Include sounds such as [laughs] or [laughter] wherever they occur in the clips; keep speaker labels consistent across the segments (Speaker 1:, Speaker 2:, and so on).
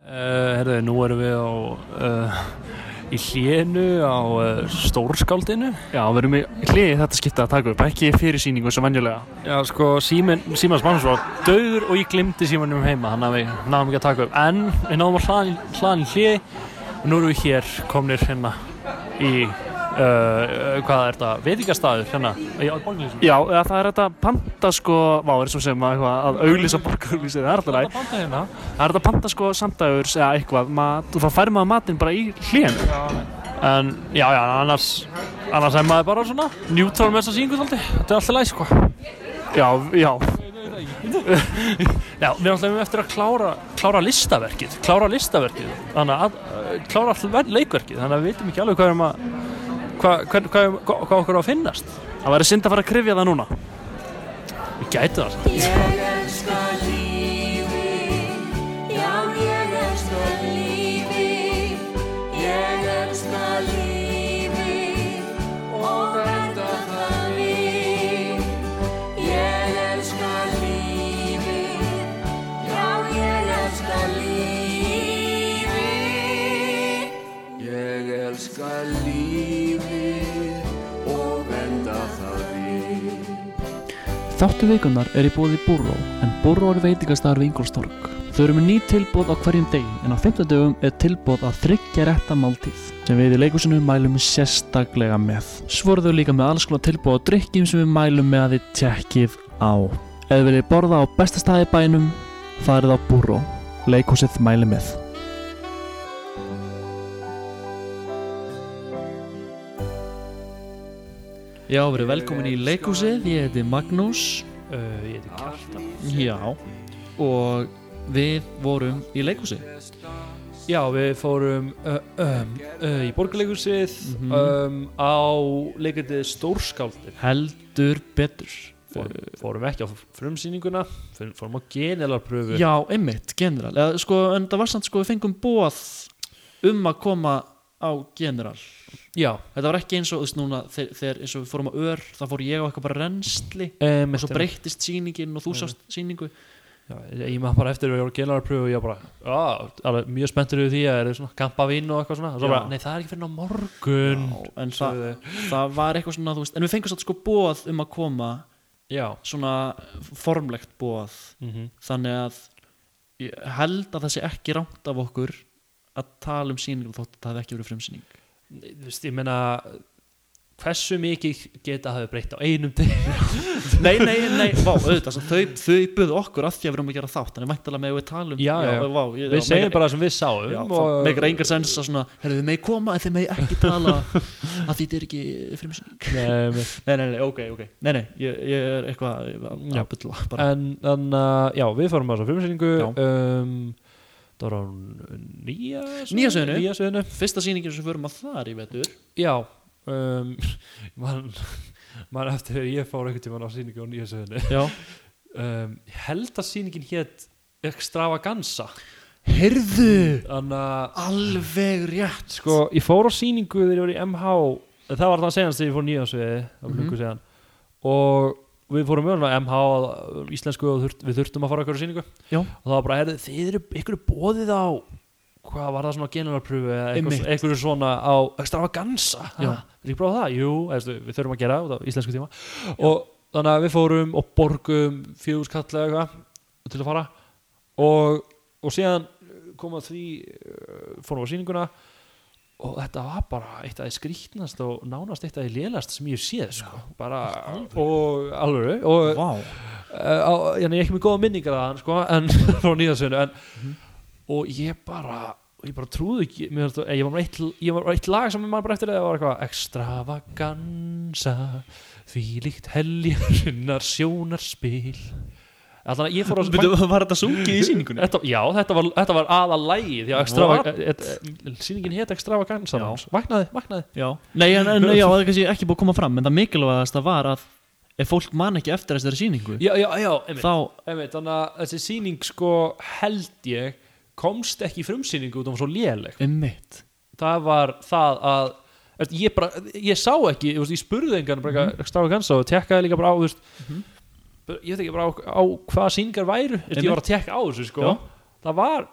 Speaker 1: herðu, Eh, nú erum við á uh, í hlénu á uh, stórskáldinu
Speaker 2: Já, við erum í hliði þetta skipta að taka upp, ekki fyrir síningu sem venjulega.
Speaker 1: Já, sko, símin, Símans manns var döður og ég glimti Símanum heima þannig að við náðum ekki að taka upp en við náðum að hlaðan, hlaðan í hliði og nú erum við hér komnir hérna í Uh, hvað er þetta, veitingastæður hérna í borgarlýsum
Speaker 2: Já, eða það er þetta panta sko, vá, er sem sem að, eitthvað að auglýsa borgarlýsið, það er alltaf læg.
Speaker 1: banta hérna
Speaker 2: Það er þetta panta sko samdægurs eða eitthvað, mat, og það fær maður matinn bara í hlíðinu.
Speaker 1: en já, já, annars annars er maður bara svona neutral með þessa síningu þáldi, þetta er alltaf læg sko
Speaker 2: Já, já,
Speaker 1: Já, við ætlum eftir að klára, klára listaverkið, klára listaverkið, þannig að uh, klára alltaf leikverkið, þannig að við veitum ekki alveg hvað, erum að, hvað, hvað, hvað, hvað, hvað okkur á að finnast.
Speaker 2: það væri synd að fara að krifja það núna.
Speaker 1: Við gætum það samt.
Speaker 3: Ég elska lífið, já ég elska lífið, ég elska lífið og verða það líf. Ég elska lífið, já ég elska lífið.
Speaker 4: Ég elska lífið og venda það við.
Speaker 5: Þáttu vikunar er í bóði Búró, en Búró er veitingastar við Ingolstorg. Þau eru með ný tilbóð á hverjum degi, en á fimmtudögum er tilbóð að þryggja rétta máltíð, sem við í leikúsinu mælum sérstaklega með. Svo eru þau líka með alls konar tilbóð á drykkjum sem við mælum með að þið tjekkið á. Ef þið viljið borða á besta staði í bænum, farið á Búró. Leikúsið mæli með. Já, verið velkomin í leikúsið. Ég heiti Magnús.
Speaker 1: Uh, ég heiti Kjartan.
Speaker 5: Já, og við vorum í leikhúsi
Speaker 1: Já, við fórum uh, um, uh, í borgarleikusið
Speaker 5: Mhm.
Speaker 1: um, á leikandið Stórskáldin.
Speaker 5: heldur betur
Speaker 1: Fórum, fórum ekki á frumsýninguna, fórum- fórum á genelarpröfu.
Speaker 5: Já, einmitt, general Eða, sko, En það var samt, sko, við fengum bóð um að koma á general
Speaker 1: Já.
Speaker 5: Þetta var ekki eins og, þú veist, núna þegar, þegar eins og við fórum á ör, þá fór ég á eitthvað bara rensli
Speaker 1: Um,
Speaker 5: og svo breyttist sýningin og þú sást sýningu
Speaker 1: Já, ég ég maður bara eftir að við vorum gelarpröfu og ég var bara, já, alveg mjög spenntur yfir því að er svona kampavín og eitthvað svona og svo
Speaker 5: Já.
Speaker 1: bara, nei það er ekki fyrir ná morgun
Speaker 5: en það,
Speaker 1: Sögðu
Speaker 5: það var eitthvað svona, þú veist En við fengum samt, sko, bóð um að koma
Speaker 1: Já,
Speaker 5: svona formlegt bóð
Speaker 1: Mhm.
Speaker 5: þannig að ég held að það sé ekki rámt af okkur að tala um sýningu þótt að það hefði ekki verið [laughs] frumsýning
Speaker 1: þú veist, ég meina hversu mikið geta hafi breytt á einum degi
Speaker 5: Nei, nei, nei, vá, auðvitað sem þau, þau buðu okkur að því að við erum að gera þátt þannig væntalega með við tala um
Speaker 1: Já, já.
Speaker 5: vá, ég,
Speaker 1: Við
Speaker 5: já,
Speaker 1: segjum
Speaker 5: megar-
Speaker 1: bara sem við sáum
Speaker 5: Já, það
Speaker 1: og,
Speaker 5: megar engar sens að svona herru, þið megi koma en þið megi ekki [laughs] tala að því þið er ekki frumsýning
Speaker 1: um, [laughs]
Speaker 5: Nei, nei, nei, ok, ok Nei, nei, ég, ég er eitthvað ég var
Speaker 1: Já.
Speaker 5: að bulla bara
Speaker 1: En, en uh, já, við fórum á þessa frumsýningu
Speaker 5: Já.
Speaker 1: um, Það var á nýja
Speaker 5: Nýja sögunu.
Speaker 1: Nýja sögunu
Speaker 5: Fyrsta sýningin sem við förum að þar í vetur
Speaker 1: Já um, [laughs] man, man eftir þegar ég fór einhvern tímann á sýningu á nýja sögunu
Speaker 5: Já
Speaker 1: um, ég held að sýningin hétt Extravaganza
Speaker 5: Heyrðu,
Speaker 1: þannig að
Speaker 5: alveg rétt
Speaker 1: sko, ég fór á sýningu þegar ég var í MH það var það senast þegar ég fór nýjansviði mm
Speaker 5: Mhm.
Speaker 1: -hmm. og við fórum mjög á MH að- uh, íslensku og þurft, við þurftum að fara okkur á sýningu
Speaker 5: Já.
Speaker 1: og það var bara, heyrðu, þið eru ykkur er bóðið á hvað var það svona generalpröfu eða
Speaker 5: Einmitt.
Speaker 1: eitthvað- eitthvað svona á extravaganza
Speaker 5: Já.
Speaker 1: Ha, er ekki prófað það? Jú, eðstu, við þurfum að gera út á íslensku tíma og þannig að við fórum og borgum fjögurskall eða eitthvað til að fara og, og síðan kom að því uh, fórum á sýninguna og þetta var bara eitt af því skrýtnast og nánast eitt af því lélast sem ég hef séð sko. bara, og alveg og
Speaker 5: Vá
Speaker 1: uh, á, hérna, ég er ekki með góða minningar að hann sko, en [laughs] frá nýðasögnu en, og ég bara ég bara trúði ekki mér, fannst það- eh, ég var með eitt, ég var með eitt lag sem ég maður bara eftir það var eitthvað extravaganza því líkt heljarinnar sjónarspil Þannig að ég fór á
Speaker 5: var þetta sungið í sýningunni?
Speaker 1: Þetta, já, þetta var, þetta var aða lægið já, extrava, et, et, Sýningin hétt extravaganza
Speaker 5: Já.
Speaker 1: hans. Vaknaði, vaknaði
Speaker 5: Já. Nei,
Speaker 1: [laughs]
Speaker 5: en, en já, það er kannski ekki búið að koma fram en það mikilvægast að var að ef fólk man ekki eftir þessari sýningu
Speaker 1: Já, já, já, einmitt
Speaker 5: þá,
Speaker 1: Einmitt, þannig að þessi sýning sko held ég komst ekki í frumsýningu út af hún var svo léleg
Speaker 5: ummitt
Speaker 1: það var það að eftir, ég, bara, ég sá ekki, ég, veist, ég spurði engan bara
Speaker 5: Mhm.
Speaker 1: eitthvað stráði kanns og tekkaði líka bara á þú veist, bara- ég veit ekki bara á, á hvaða sýningar væru Eftir, ég
Speaker 5: Einmitt.
Speaker 1: var að tekka á þessu sko
Speaker 5: Já.
Speaker 1: það var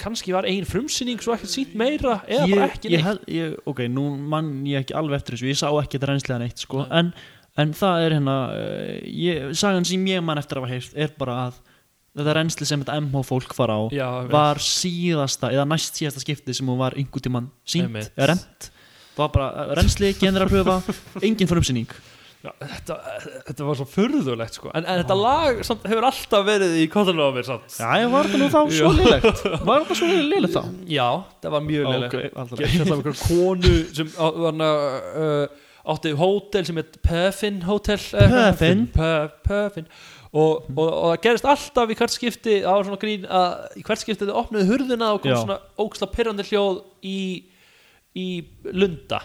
Speaker 1: kannski var ein frumsýning svo ekkert sínt meira eða bara
Speaker 5: ég,
Speaker 1: ekki
Speaker 5: ég,
Speaker 1: neitt
Speaker 5: held- ég, ok, nú mann ég ekki alveg eftir þessu ég sá ekki þetta reynslega neitt sko. en, en það er hérna eh, ég, sagan sem ég mann eftir að hafa heyrt er bara að þetta reynsli sem þetta MH fólk var á
Speaker 1: já,
Speaker 5: var síðasta eða næst síðasta skipti sem hún var einhvern tímann sínt,
Speaker 1: Einmitt.
Speaker 5: eða rent það var bara eh, reynsli, generarpröfa
Speaker 1: [laughs]
Speaker 5: engin frumsýning
Speaker 1: já, þetta, þetta var svo furðulegt sko. en, en þetta lag samt, hefur alltaf verið í kottanum á mér samt
Speaker 5: Ah. já, ég var þetta nú þá svo lélegt
Speaker 1: [laughs]
Speaker 5: var þetta svo lélegt þá?
Speaker 1: já, það var mjög leilig
Speaker 5: Ah, ok, alltaf
Speaker 1: Ég ætla um einhver konu sem á, varna, uh, átti hótel sem heit Puffin Hotel eh,
Speaker 5: Puffin? Mhm.
Speaker 1: Pu- Puffin og, og, og það gerist alltaf í hvert skipti það var svona grín að í hvert skipti þau opnuðu hurðina og kom
Speaker 5: Já.
Speaker 1: svona óksla pyrrandi hljóð í, í lunda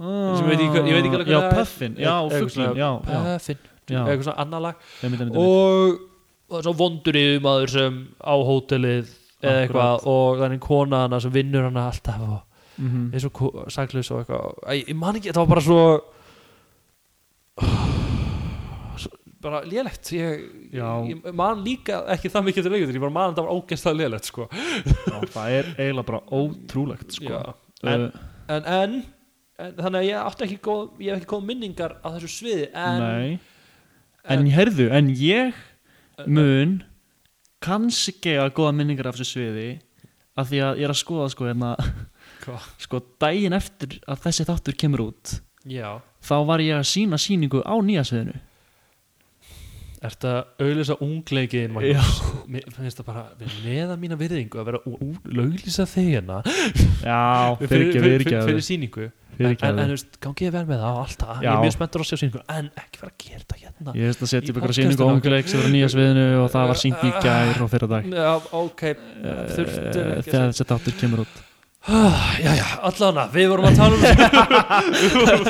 Speaker 1: sem ég veit ekki- ég veit ekki alveg
Speaker 5: Ah. já,
Speaker 1: hvað það er.
Speaker 5: puffin, já,
Speaker 1: Eitthvað svona-
Speaker 5: fugglin já, já,
Speaker 1: Puffin,
Speaker 5: Já.
Speaker 1: eitthvað svona annar lag
Speaker 5: ég myndi, myndi,
Speaker 1: og og það er svo vondur yfirmaður sem á hótelið eða eitthvað og þannig kona hana sem vinnur hana alltaf og
Speaker 5: myndi.
Speaker 1: eins og saklaus og eitthvað Æ, ég man ekki, það var bara svo [sighs] Svo- bara lélegt ég,
Speaker 5: Já.
Speaker 1: ég man líka ekki það mikið til leikur ég bara man að það var ógeðslega lélegt sko.
Speaker 5: Já, það er eiginlega bara ótrúlegt sko.
Speaker 1: Já.
Speaker 5: en,
Speaker 1: en, en, en þannig að ég átti ekki góð, ég hef ekki góð minningar á þessu sviði en
Speaker 5: Nei
Speaker 1: en-
Speaker 5: En ég herðu, en ég
Speaker 1: En-
Speaker 5: mun kannski að góða minningar af þessu sviði af því að ég er að skoða sko hérna
Speaker 1: [laughs] Hvað?
Speaker 5: sko daginn eftir að þessi þáttur kemur út
Speaker 1: já,
Speaker 5: þá var ég að sína síningu á nýja sviðinu
Speaker 1: ert að auðlýsa ungleikin Magnús? mér mér finnst það bara við neðan mína virðingu að vera að auðlýsa þig hérna
Speaker 5: Já,
Speaker 1: fyrir, fyrir, fyrir, fyrir síningu en,
Speaker 5: Fyrirgefðu.
Speaker 1: en, en þú veist, gangið vel með það og alltaf ég
Speaker 5: Já.
Speaker 1: er mjög spenntur á að sjá síningu en ekki vera að gera þetta hérna
Speaker 5: Ég veist að setja
Speaker 1: Í
Speaker 5: upp eitthvað
Speaker 1: podcastinu
Speaker 5: síningu á
Speaker 1: okkar.
Speaker 5: ungleik sem var á nýja sviðinu og það var sínt í gær og fyrir dag
Speaker 1: Já, ok, þurftum
Speaker 5: Eh,
Speaker 1: ekki að
Speaker 5: þegar þessi þáttur kemur út
Speaker 1: já, já, allavega, við vorum að tala um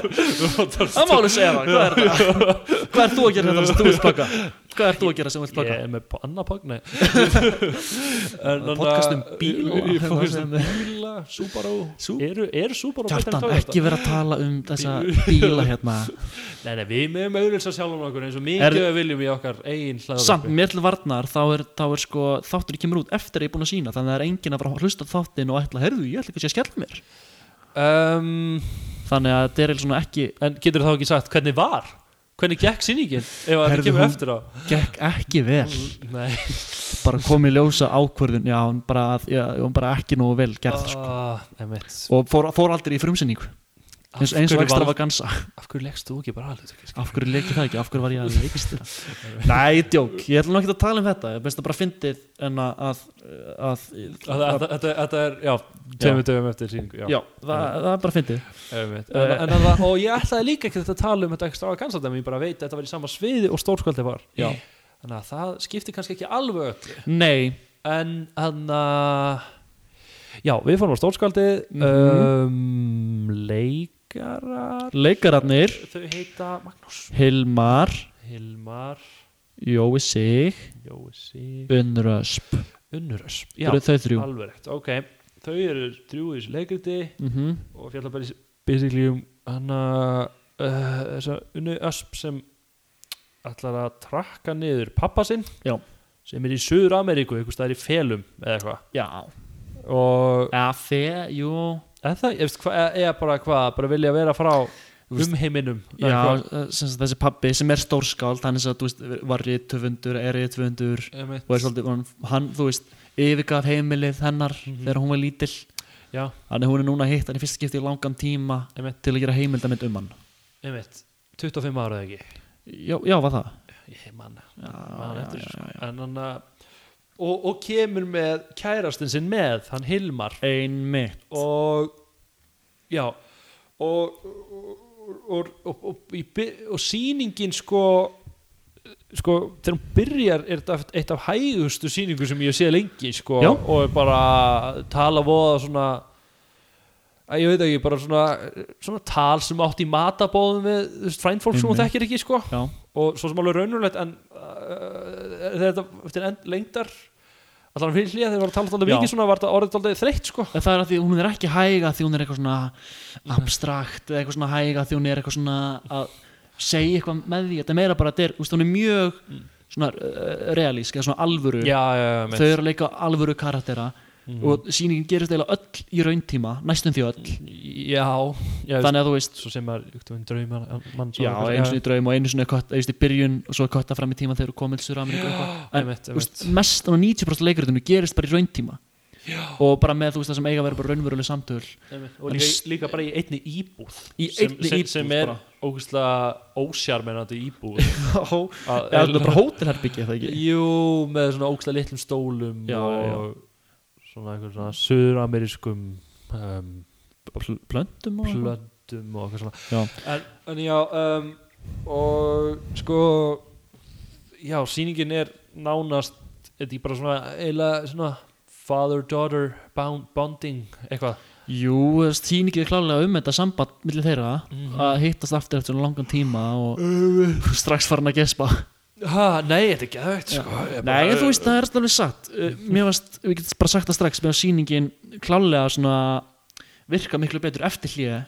Speaker 5: Það máli segja það, hvað er það? Hvað er þú að gera þetta sem þú vilt plaka? Hvað er þú að gera sem þú
Speaker 1: Ég
Speaker 5: vilt plaka?
Speaker 1: er með p- annað pakk, nei
Speaker 5: Podcast um bíla.
Speaker 1: Podcast um bíla, Subaru
Speaker 5: Sú-
Speaker 1: Eru, eru Subaru betri en
Speaker 5: Kjartan,
Speaker 1: Toyota?
Speaker 5: ekki vera að tala um þessa bíla hérna
Speaker 1: Nei, nei, við meðum auðvitað sjálfum okkur eins og
Speaker 5: Er-
Speaker 1: mikið við viljum í okkar eigin hlaðvarpi.
Speaker 5: [laughs] Samt, mér til varnar, þá er, þá er sko þáttur kemur út eftir að ég er búin að sína þannig að það er enginn að fara að hlusta á þáttinn og ætla, heyrðu, ég ætla ekki að skella mér
Speaker 1: um,
Speaker 5: Þannig að þetta er eiginlega svona ekki
Speaker 1: En getur þá ekki sagt hvernig var? Hvernig gekk sýningin? Ef að
Speaker 5: Herðu,
Speaker 1: það kemur
Speaker 5: hún-
Speaker 1: eftir á
Speaker 5: gekk ekki vel
Speaker 1: Nei
Speaker 5: bara komið ljósa ákvörðun já, hún bara, já, hún bara ekki nógu vel gerð sko.
Speaker 1: Ah, einmitt.
Speaker 5: og fór, fór aldrei í frumsynningu eins, eins
Speaker 1: Af
Speaker 5: og
Speaker 1: hverju
Speaker 5: ekstra
Speaker 1: var-
Speaker 5: var gansa
Speaker 1: Af hverju leggst þú ekki bara alveg
Speaker 5: af hverju leikir það ekki, af hverju var ég að leikstýra [laughs] Nei, djók, ég ætla nú ekki að tala um þetta ég finnst það bara fyndið en að, að, að,
Speaker 1: Þetta þetta- þetta er, já, tveimur dögum eftir sýningu Já,
Speaker 5: já, það, það er bara fyndið
Speaker 1: einmitt Eh, en, en, það var- Og ég ætlaði líka ekki að tala um þetta ekstra aðkansa en ég bara veit að þetta var í sama sviði og stórskvöldi var
Speaker 5: Já.
Speaker 1: Þannig að það skipti kannski ekki alveg öllu
Speaker 5: Nei,
Speaker 1: En hann að Já, við fórum á stórskvöldi um, Leikarar
Speaker 5: leikararnir
Speaker 1: Þau heita Magnús
Speaker 5: Hilmar,
Speaker 1: Hilmar
Speaker 5: Jói Sig
Speaker 1: Jósi
Speaker 5: Unnrösp,
Speaker 1: Unnurös Já,
Speaker 5: þau þrjú
Speaker 1: alveg rétt, ok Þau eru þrjú í þessu leikriti
Speaker 5: mm -hmm.
Speaker 1: og fjalla bara í- basically um hana uh, þessa unnu ösp sem ætlar að trakka niður pappa sinn
Speaker 5: Já.
Speaker 1: sem er í Suður Ameríku, einhvers staðar í felum eða eitthvað
Speaker 5: Já,
Speaker 1: og
Speaker 5: eða fe, jú
Speaker 1: eða, það, ég veist, hva, eða, eða bara hvað, bara vilja vera frá umheiminum eða
Speaker 5: Já,
Speaker 1: eitthvað.
Speaker 5: eh, sem sagt, þessi pappi sem er stórskáld hann er svo, þú veist, var ríttöfundur er ríttöfundur
Speaker 1: Einmitt.
Speaker 5: og er svolítið, hann, hann, þú veist yfirgaf heimilið hennar þegar hún var lítill
Speaker 1: já,
Speaker 5: Þannig að hún er núna hitt hann í fyrsta skipti í langan tíma
Speaker 1: Einmitt.
Speaker 5: til að gera heimildamind um hann.
Speaker 1: einmitt 25 ára eða ekki
Speaker 5: Já, já var það?
Speaker 1: ég man,
Speaker 5: Já,
Speaker 1: man
Speaker 5: já,
Speaker 1: eftir
Speaker 5: já,
Speaker 1: þessu, sko.
Speaker 5: já.
Speaker 1: en hann að og, og kemur með kærastinn sinn með, hann Hilmar
Speaker 5: Einmitt.
Speaker 1: og já og og, og, og, í by- og sýningin sko sko þegar hún byrjar er þetta eitt af hægustu sýningu sem ég sé lengi sko
Speaker 5: Já.
Speaker 1: og er bara tala voða svona að ég veit ekki bara svona, svona tal sem átt í matabóðum við þú veist, frændfólk sem hún
Speaker 5: Einmitt.
Speaker 1: þekkir ekki sko
Speaker 5: Já,
Speaker 1: og svo sem alveg raunulegt en uh, þetta eftir end, lengdar allan fyrir hlýja þegar við varum að tala alltaf
Speaker 5: Já.
Speaker 1: mikið svona var þetta orðið alltaf þreytt sko
Speaker 5: En það er að því hún er ekki hæga því hún er eitthvað svona abstrakt eða eitthvað svona hæga því hún er eitthvað svona að segja eitthvað með því. Þetta er meira bara, þetta er, þú veist, hún er mjög svona uh, realísk eða svona alvöru
Speaker 1: já, já, já,
Speaker 5: þau
Speaker 1: mitt.
Speaker 5: eru að leika alvöru karaktera
Speaker 1: Mhm.
Speaker 5: og sýningin gerist eiginlega öll í rauntíma næstum því öll
Speaker 1: já, já Þann...
Speaker 5: þannig að þú veist
Speaker 1: svo sem maður ykti um drauma mann
Speaker 5: já, einu sinni í draum og einu sinni kött, einu sinni í byrjun og svo kötta fram í tíma þegar þú komið til Sjóra Ameríku og eitthvað. en,
Speaker 1: einmitt,
Speaker 5: þú veist, mest á 90% leikritinu gerist bara í rauntíma já. og bara með þú veist það sem eiga að vera bara raunveruleg samtöl
Speaker 1: og
Speaker 5: En
Speaker 1: líka,
Speaker 5: s-
Speaker 1: líka bara í einni íbúð
Speaker 5: Í
Speaker 1: sem,
Speaker 5: einni
Speaker 1: sem,
Speaker 5: íbúð
Speaker 1: sem er
Speaker 5: bara.
Speaker 1: ógustlega ósjarmennandi íbúð
Speaker 5: [laughs]
Speaker 1: að,
Speaker 5: Já, þetta er bara hótelherbyggja það ekki
Speaker 1: jú, með svona ógustlega litlum stólum
Speaker 5: Já,
Speaker 1: og
Speaker 5: já,
Speaker 1: svona einhver svona suðuramerískum um,
Speaker 5: Pl- plöntum og
Speaker 1: plöndum og eitthvað svona
Speaker 5: Já.
Speaker 1: En, en já um, og sko já, sýningin er nánast þetta er bara svona eiginlega svona father-daughter bond- bonding eitthvað
Speaker 5: jú, þess tíningi er klárlega um þetta samband millir þeirra að hittast aftur eftir svona langan tíma og [laughs] strax farin að gespa
Speaker 1: ha, nei, þetta er geðvægt sko Ég bara-
Speaker 5: Nei, en þú veist, það er alveg satt Uh, Mér varst, við getum bara sagt það strax Mér var sýningin klálega svona virka miklu betur eftir hlýja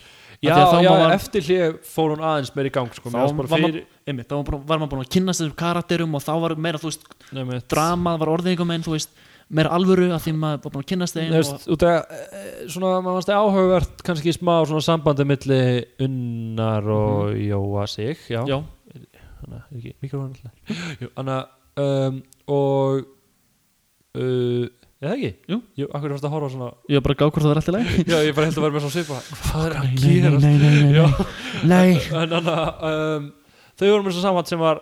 Speaker 1: já,
Speaker 5: þá
Speaker 1: já,
Speaker 5: var maður-
Speaker 1: eftir hlið fór hún aðeins meir í gang sko,
Speaker 5: þá
Speaker 1: mér
Speaker 5: var,
Speaker 1: fannst bara
Speaker 5: maður-
Speaker 1: fyrir-
Speaker 5: einmitt, þá var, búin- var maður búin að kynast þessum karakterum og þá var meira, þú veist,
Speaker 1: Nei, mitt.
Speaker 5: dramað var orðið einhver meginn, þú veist, meira alvöru að því maður var búin að kynast þeim
Speaker 1: Þú veist, út af eh, svona, maður fannst það áhugavert kannski smá svona sambandi milli unnar og jóa sig já,
Speaker 5: og, Mhm. já,
Speaker 1: þannig að ekki mikrofónu alltaf þannig að um, og uh, eða ekki?
Speaker 5: Jú.
Speaker 1: Jú, akkur er fyrst að horfa svona
Speaker 5: ég var bara að gá hvort það var alltaf leið
Speaker 1: Já, ég bara held að vera með svona svipa
Speaker 5: [laughs]
Speaker 1: Hvað er að
Speaker 5: Nei,
Speaker 1: gera?
Speaker 5: nei, nei, nei,
Speaker 1: Já,
Speaker 5: nei,
Speaker 1: [laughs]
Speaker 5: nei.
Speaker 1: en þannig að um, þau voru með svona samhatt sem var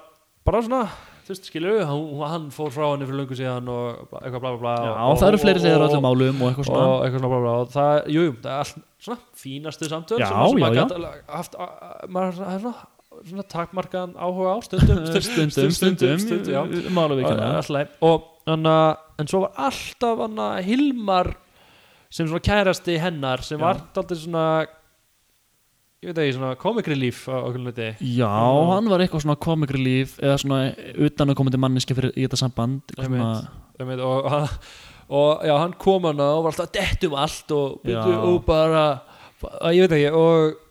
Speaker 1: bara svona, þú veist, skilur við hann, hann fór frá henni fyrir löngu síðan og bla- eitthvað bla bla bla
Speaker 5: Já,
Speaker 1: og,
Speaker 5: það eru fleiri hliðar á
Speaker 1: og-
Speaker 5: öllum málum og eitthvað
Speaker 1: og
Speaker 5: svona
Speaker 1: eitthvað svona bla bla og það, jú, jú, það er allt svona fínastu samtöl
Speaker 5: Já,
Speaker 1: sem, sem
Speaker 5: já,
Speaker 1: maður
Speaker 5: já.
Speaker 1: gat alveg haft a- a- maður það er svona, svona takmarkaðan áhuga á
Speaker 5: [laughs]
Speaker 1: stundum
Speaker 5: Stundum, stundum,
Speaker 1: já
Speaker 5: stundum Máluvíkjana
Speaker 1: Alltaf leið. og anna, en svo var alltaf anna, Hilmar sem svona kærasti hennar sem
Speaker 5: Já.
Speaker 1: var alltaf svona ég veit ekki svona komikri líf á okkur leiti
Speaker 5: Já, hann var eitthvað svona komikri líf eða svona utan að koma til manneski fyrir í þetta samband eitthvað
Speaker 1: Einmitt.
Speaker 5: svona,
Speaker 1: og, og, og já, hann kom hann og var alltaf dett um allt og,
Speaker 5: Já.
Speaker 1: byrju, og bara að, ég veit ekki og,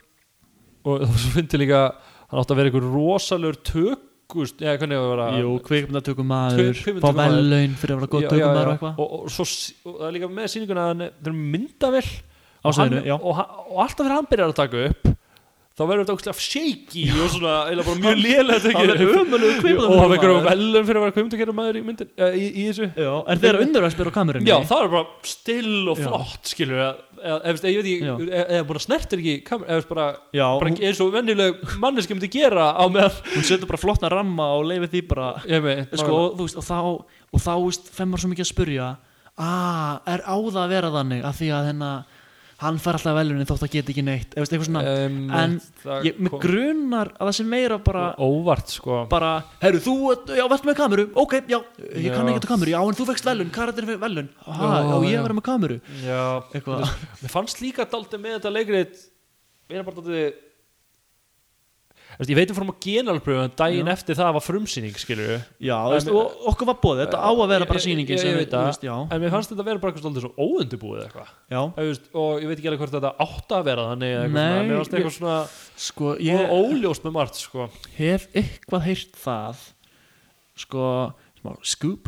Speaker 1: og svo fyndi líka hann átti að vera einhver rosalur tökust eða hvernig á að vera
Speaker 5: Jú, kvikmyndatökum maður
Speaker 1: Kvikmyndatökumaður.
Speaker 5: Fá velun fyrir að vera
Speaker 1: Já,
Speaker 5: góð
Speaker 1: já,
Speaker 5: tökum
Speaker 1: já.
Speaker 5: maður og eitthvað
Speaker 1: og, og, svo, s- og það er líka með sýninguna að hann er- þeir eru myndavill
Speaker 5: Á sviðinu, já.
Speaker 1: og, og, hann- og alltaf þegar hann byrjar að taka upp þá verður þetta ógstlega shaky og svona, eða bara mjög lélega
Speaker 5: Hann er ömurlegur kvikmyndatökumaður.
Speaker 1: og hann vekur um velum fyrir að vera kvimdakerum maður í, myndin, uh, í, í þessu
Speaker 5: Já, en þeirra undur að spila á kamerunni
Speaker 1: já, það er bara still og
Speaker 5: Já.
Speaker 1: flott skilur, eða, eða, eða, ég veit
Speaker 5: Já.
Speaker 1: ekki eða, eða bara snertir ekki kamer, eða bara,
Speaker 5: Já,
Speaker 1: bara
Speaker 5: hún,
Speaker 1: eins og venjuleg manneski myndi gera á meðan
Speaker 5: [laughs] hún setur bara flottna ramma og leifir því bara
Speaker 1: ég veit,
Speaker 5: sko, og, þú veist, og þá, og þá veist, fem var svo mikið að spurja ah, er á það að vera þannig af því að hennar, hann fær alltaf velunin þótt að geta ekki neitt, eða veist, eitthvað svona
Speaker 1: um,
Speaker 5: en
Speaker 1: það
Speaker 5: ég, mig
Speaker 1: kom-
Speaker 5: grunar að það sé meira bara
Speaker 1: óvart sko
Speaker 5: bara, herru, þú, ert- já, verður með kameru ok, já, ég
Speaker 1: Já.
Speaker 5: kann ekki þetta kameru, já, en þú fegst velun karakterin fyrir velun, ah,
Speaker 1: Já,
Speaker 5: já, ég
Speaker 1: já.
Speaker 5: verður með kameru
Speaker 1: já,
Speaker 5: eitthvað,
Speaker 1: Mér fannst líka daldið með þetta leikrit Mér er bara daldið Ég veit um fórum á genalpröfu en daginn
Speaker 5: Já.
Speaker 1: eftir það var frumsýning skilur
Speaker 5: já, þú veist,
Speaker 1: En-
Speaker 5: og okkur var bóðið þetta á að vera bara sýningin
Speaker 1: Ég,
Speaker 5: sem
Speaker 1: ég,
Speaker 5: við-
Speaker 1: veit
Speaker 5: Eh, þú
Speaker 1: það,
Speaker 5: veist, já,
Speaker 1: en mér fannst þetta vera bara eitthvað svolítið svo óundibúið eitthvað
Speaker 5: já
Speaker 1: Ef þú veist, Og ég veit ekki alveg hvort þetta átt að vera þannig eða eitthvað
Speaker 5: Nei,
Speaker 1: svona. Mér fannst
Speaker 5: ég-
Speaker 1: eitthvað svona
Speaker 5: sko,
Speaker 1: ég...
Speaker 5: ég
Speaker 1: óljóst með margt sko.
Speaker 5: hef eitthvað heyrt það sko, smá scoop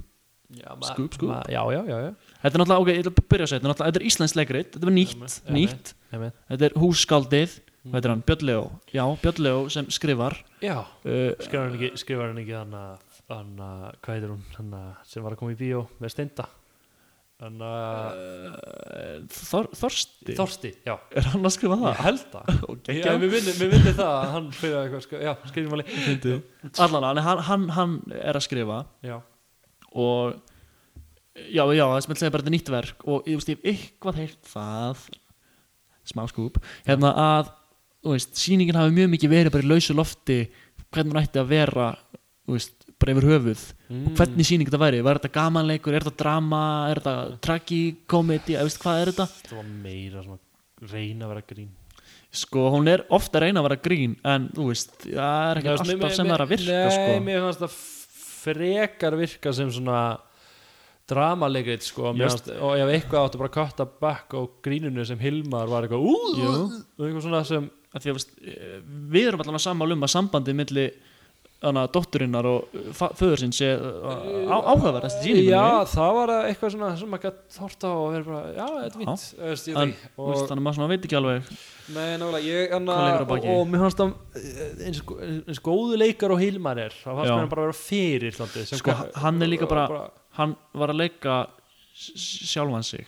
Speaker 1: já,
Speaker 5: Skúp, skúp.
Speaker 1: ma, Já, já, já, já.
Speaker 5: þetta er náttúrulega, ok, ég ætla að byrja að segja þetta er náttúrulega, þetta er íslensk leikrit, þetta er nýtt
Speaker 1: Einmitt, Mm.
Speaker 5: nýtt,
Speaker 1: Einmitt.
Speaker 5: þetta er hússkaldið hvað heitir hann, Björn Leó, já, Björn Leó sem skrifar
Speaker 1: já.
Speaker 5: uh,
Speaker 1: Skrifar hann ekki, skrifar hann ekki hann að, hann að, hvað heitir hún, hann að, sem var að koma í bíó með steinda, hann að,
Speaker 5: Þor, Þorsti,
Speaker 1: Þorsti, já,
Speaker 5: er hann að skrifa það?
Speaker 1: ég held það.
Speaker 5: Okay,
Speaker 1: Já, mér vinni, mér vinni það að hann fyrir eitthvað sko, já, skrifum að leið
Speaker 5: Allan, hann- hann, hann, hann er að skrifa
Speaker 1: já,
Speaker 5: og já, já, það sem ég segja bara þetta er nýtt verk og ég veist, ég hef eitthvað heyrt það smá skúp hérna að, þú veist, sýningin hafi mjög mikið verið bara í lausu lofti hvernig hún ætti að vera, þú veist bara yfir höfuð
Speaker 1: Mm.
Speaker 5: og hvernig sýning þetta væri var þetta gamanleikur, er þetta drama er þetta tragikomedi, eða veist hvað er þetta
Speaker 1: það var meira svona reyna að vera grín
Speaker 5: sko, hún er ofta að reyna að vera grín en, þú veist, það er
Speaker 1: Nei,
Speaker 5: ekki
Speaker 1: mér-
Speaker 5: alltaf sem það er að virka,
Speaker 1: nei,
Speaker 5: sko
Speaker 1: mér fannst það frekar virka sem svona dramalegrið sko, mér
Speaker 5: Just-
Speaker 1: fannst, og ef eitthvað áttu bara að katta bakk á grínunu sem Hilmar var eitthvað ú,
Speaker 5: Jú.
Speaker 1: og eitthvað svona sem
Speaker 5: að því að veist, eh, við erum allan að sammála um að sambandið milli hana, dótturinnar og eh, föður sinns er áhugaverðast síni
Speaker 1: Já, það var eitthvað svona sem maður gætt þort á og verið bara, já, þetta er
Speaker 5: Já.
Speaker 1: fínt Þú veist, ég
Speaker 5: En-
Speaker 1: veit ekki.
Speaker 5: og
Speaker 1: og,
Speaker 5: þannig að maður svona veit ekki alveg
Speaker 1: Nei, nálega, ég anna,
Speaker 5: Hvað leikur að
Speaker 1: og,
Speaker 5: baki?
Speaker 1: og mér fannst það eh, eins, gó- eins góðu leikar og Hilmar er þá fannst
Speaker 5: Já.
Speaker 1: mér hann bara vera fyrir svolítið, sem
Speaker 5: Sko,
Speaker 1: hvað-
Speaker 5: hann er líka bara-
Speaker 1: bara
Speaker 5: hann var að leika s- sjálfan sig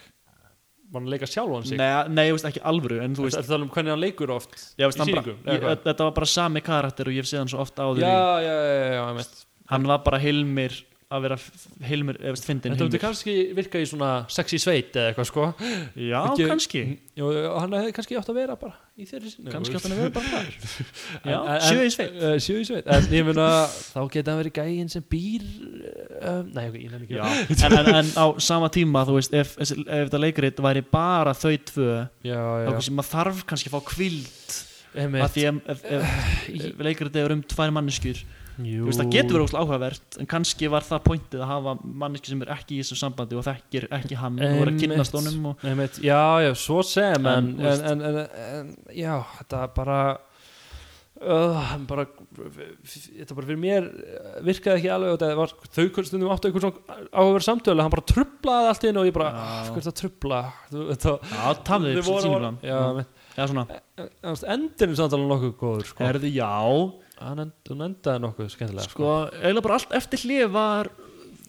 Speaker 1: var hann að leika sjálfan sig
Speaker 5: nei, nei, ég veist ekki alvöru en
Speaker 1: Þú veist,
Speaker 5: þú veist,
Speaker 1: þetta tala um hvernig hann leikur oft
Speaker 5: ég, veist
Speaker 1: í
Speaker 5: hann bara,
Speaker 1: sýningum, eða
Speaker 5: ég,
Speaker 1: hvað?
Speaker 5: þetta var bara sami karakter og ég hef séð hann svo ofta
Speaker 1: Já,
Speaker 5: áður í,
Speaker 1: já, já, já, já, einmitt.
Speaker 5: hann var bara hilmir að vera f- hilmir, eða veist,
Speaker 1: Þetta
Speaker 5: fyndin
Speaker 1: myndi
Speaker 5: hilmir
Speaker 1: kannski virka í svona sexy sveit eða eitthvað sko
Speaker 5: já,
Speaker 1: Ekki-
Speaker 5: kannski,
Speaker 1: Jú, hann hefði kannski átt að vera bara í þeirri sinni
Speaker 5: kannski átt hann að vera bara þar
Speaker 1: [laughs]
Speaker 5: já,
Speaker 1: En- en-
Speaker 5: sjöðu í sveit
Speaker 1: Eh, Sjö í sveit En ég meina, þá geti hann verið gæinn sem býr uh, Nei, ok, ég nefn ekki
Speaker 5: Já, en, en, en á sama tíma þú veist, ef, ef, ef þetta leikrit væri bara þau tvö,
Speaker 1: já,
Speaker 5: þá
Speaker 1: já.
Speaker 5: kannski maður þarf kannski að fá kvild
Speaker 1: Einmitt.
Speaker 5: að því ef, ef, ef, ef leikrit er um tvær manneskjur
Speaker 1: Jú.
Speaker 5: þú veist, það getur verið óslega áhugavert en kannski var það pointið að hafa manneski sem er ekki í þessu sambandi og þekkir ekki hann og verið að kynnast
Speaker 1: Einmitt.
Speaker 5: honum og
Speaker 1: Einmitt, já, já, svo sem en,
Speaker 5: En, þú
Speaker 1: en,
Speaker 5: veist-
Speaker 1: en, en, en já, þetta bara uh, bara þetta bara fyrir mér eh, virkaði ekki alveg og þetta var, þau kunn- stundum áttu einhvern svona áhugaverð samtölu, hann bara trublaði allt inn og ég bara,
Speaker 5: Já.
Speaker 1: af hverju það trubla þú, þetta,
Speaker 5: já, tafðið
Speaker 1: þau voru-
Speaker 5: sínum
Speaker 1: já, einmitt.
Speaker 5: Mm. já, svona,
Speaker 1: En- en endurinn samtala nokkuð góður sko.
Speaker 5: erðu já
Speaker 1: hann end, hún endaði nokkuð skemmtilega
Speaker 5: sko, eiginlega bara allt eftir hlið var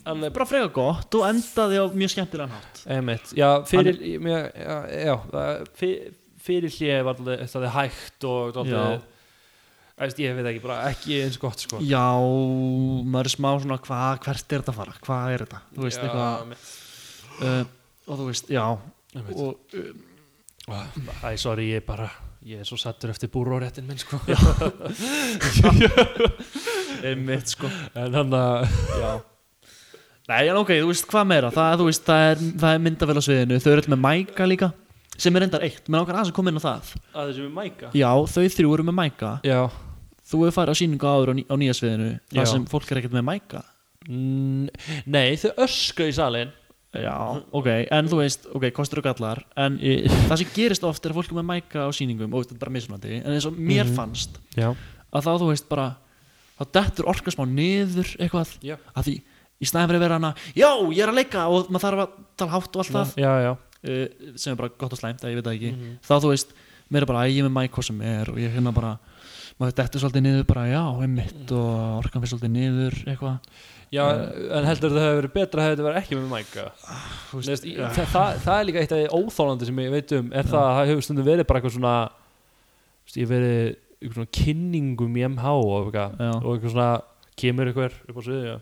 Speaker 1: Alveg-
Speaker 5: bara frega gott og endaði á mjög skemmtilegan hátt
Speaker 1: Einmitt, já, fyrir mér, já, já, það- fyr- fyrir hlið var dálítið- það er hægt og
Speaker 5: Já.
Speaker 1: dálítið- Æst, ég veit ekki, bara ekki eins gott sko.
Speaker 5: já, maður er smá svona hva, hvert er þetta að fara, hvað er þetta þú veist,
Speaker 1: Já,
Speaker 5: eitthvað
Speaker 1: einmitt.
Speaker 5: uh, og þú veist, já
Speaker 1: Einmitt.
Speaker 5: og uh,
Speaker 1: Æ, sorry, ég er bara ég er svo sattur eftir búróréttin minn sko.
Speaker 5: einmitt, sko
Speaker 1: en hann að
Speaker 5: Já Nei, en ok, þú veist hvað meira Það, þú veist, það, er, það er myndavél á sviðinu Þau eru öll með mæka líka Sem er endar eitt, menn okkar aðeins að koma inn á það
Speaker 1: að þessi við mæka
Speaker 5: Já, þau þrjú eru með mæka
Speaker 1: já,
Speaker 5: Þú hefur farið á síningu áður á, ný, á nýja sviðinu
Speaker 1: Já.
Speaker 5: Það sem fólk er ekkert með mæka
Speaker 1: Mm, nei, þau ösku í salin
Speaker 5: Já, ok, en þú veist, ok, kostur og gallar En það sem gerist oft er að fólk er með mæka á síningum Og þetta er bara mismunandi En eins og mér
Speaker 1: Mhm.
Speaker 5: fannst
Speaker 1: já,
Speaker 5: Að þá, þú veist, bara Þá dettur orka smá niður eitthvað
Speaker 1: já,
Speaker 5: Að því, í snæðin verið að vera hana Já, ég er að leika og maður þarf að tala hátt og allt það
Speaker 1: já, já.
Speaker 5: uh, sem er bara gott og slæmt, eða ég veit það ekki
Speaker 1: Mhm.
Speaker 5: þá þú veist, mér er bara að ég er með mæk hvað sem er og ég hérna bara maður dettur svolítið niður bara, já, einmitt og orkan fyrir svolítið niður, eitthvað
Speaker 1: já en heldur það hefur verið betra hefur þetta verið ekki með mæka
Speaker 5: Ah, Þú veist,
Speaker 1: Nefnst, ja. það, það, það er líka eitt af því óþálandi sem ég veit um er það að það hefur stundum verið bara eitthvað svona þú veist, ég hef verið eitthvað svona kynningum í MH og eitthvað,
Speaker 5: Já. Mm.
Speaker 1: og eitthvað svona kemur eitthvað upp á sviði já,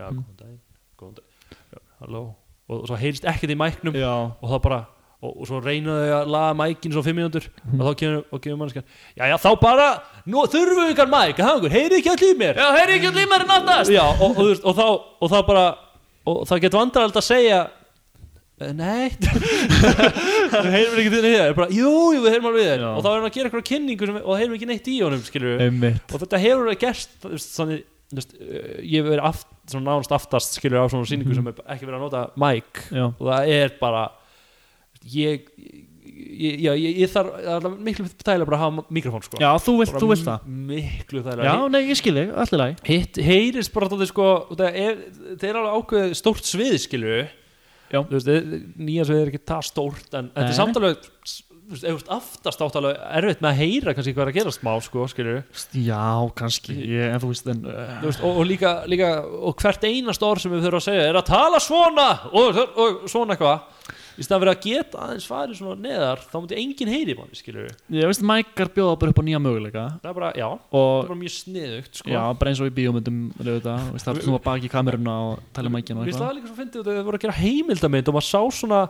Speaker 1: já góðan dag, góðan dag já, halló, og, og svo heyrist ekkert í mæknum
Speaker 5: já,
Speaker 1: og það bara og, og svo reyna þau að laga mækin svo fimm mínútur og þá kemur, og kemur mannskjan já, já, þá bara, nú þurfum við ykkar mæk að hafa ykkur, heyrið ekki allir í mér
Speaker 5: já, heyri ekki allir mér en áttast
Speaker 1: já, og, og, þú veist, og, þá, og þá bara og það getur vandrarald að segja "Eh, Nei [laughs] Við heyrum ekki til þér bara, Jú, jú, við heyrum alveg við þér
Speaker 5: Já.
Speaker 1: Og þá er hann að gera eitthvað kynningu sem, og það heyrum ekki neitt í honum skilur
Speaker 5: einmitt,
Speaker 1: Og þetta hefur verið gerst þú veist, þannig, þú veist, eh, Ég hef verið aft, svona nánast aftast skilur á svona
Speaker 5: Mhm.
Speaker 1: síningu sem er ekki verið að nota mic
Speaker 5: já,
Speaker 1: Og það er bara Ég Ég, já, ég, ég þarf, það er alveg miklu þægilega bara að hafa mikrofón sko
Speaker 5: já, þú vilt,
Speaker 1: Bara
Speaker 5: þú vilt það
Speaker 1: Miklu þægilega
Speaker 5: já, nei, ég skil þig, allir læg
Speaker 1: hitt heyrist bara þáttið sko það er, það er alveg ákveðið stórt svið skilju
Speaker 5: Já.
Speaker 1: veist, þið- nýja svið er ekki það stórt en, en þetta er
Speaker 5: Nei.
Speaker 1: samt alveg þú veist, ef þú veist, aftast átt alveg erfitt með að heyra kannski hvað er að gera smá sko skilju
Speaker 5: já, kannski, ég, en þú veist en, uh,
Speaker 1: Veist, og, og líka, líka og hvert einast orð sem við þurfum að segja er að tala svona og, og svona eitthvað í staðan fyrir að geta aðeins farið svona neðar þá múti enginn heyri manni skilju
Speaker 5: ég veist, mækar bjóða bara upp á nýja möguleika
Speaker 1: það er bara, já, það er
Speaker 5: og
Speaker 1: bara mjög sniðugt sko.
Speaker 5: Já, bara eins og í bíómyndum auðvitað, þú veist, það er svona baki kameruna og tala mækina og
Speaker 1: Mér finnst
Speaker 5: eitthvað
Speaker 1: það líka svo fyndið út að þau voru að gera heimildamind og maður sá svona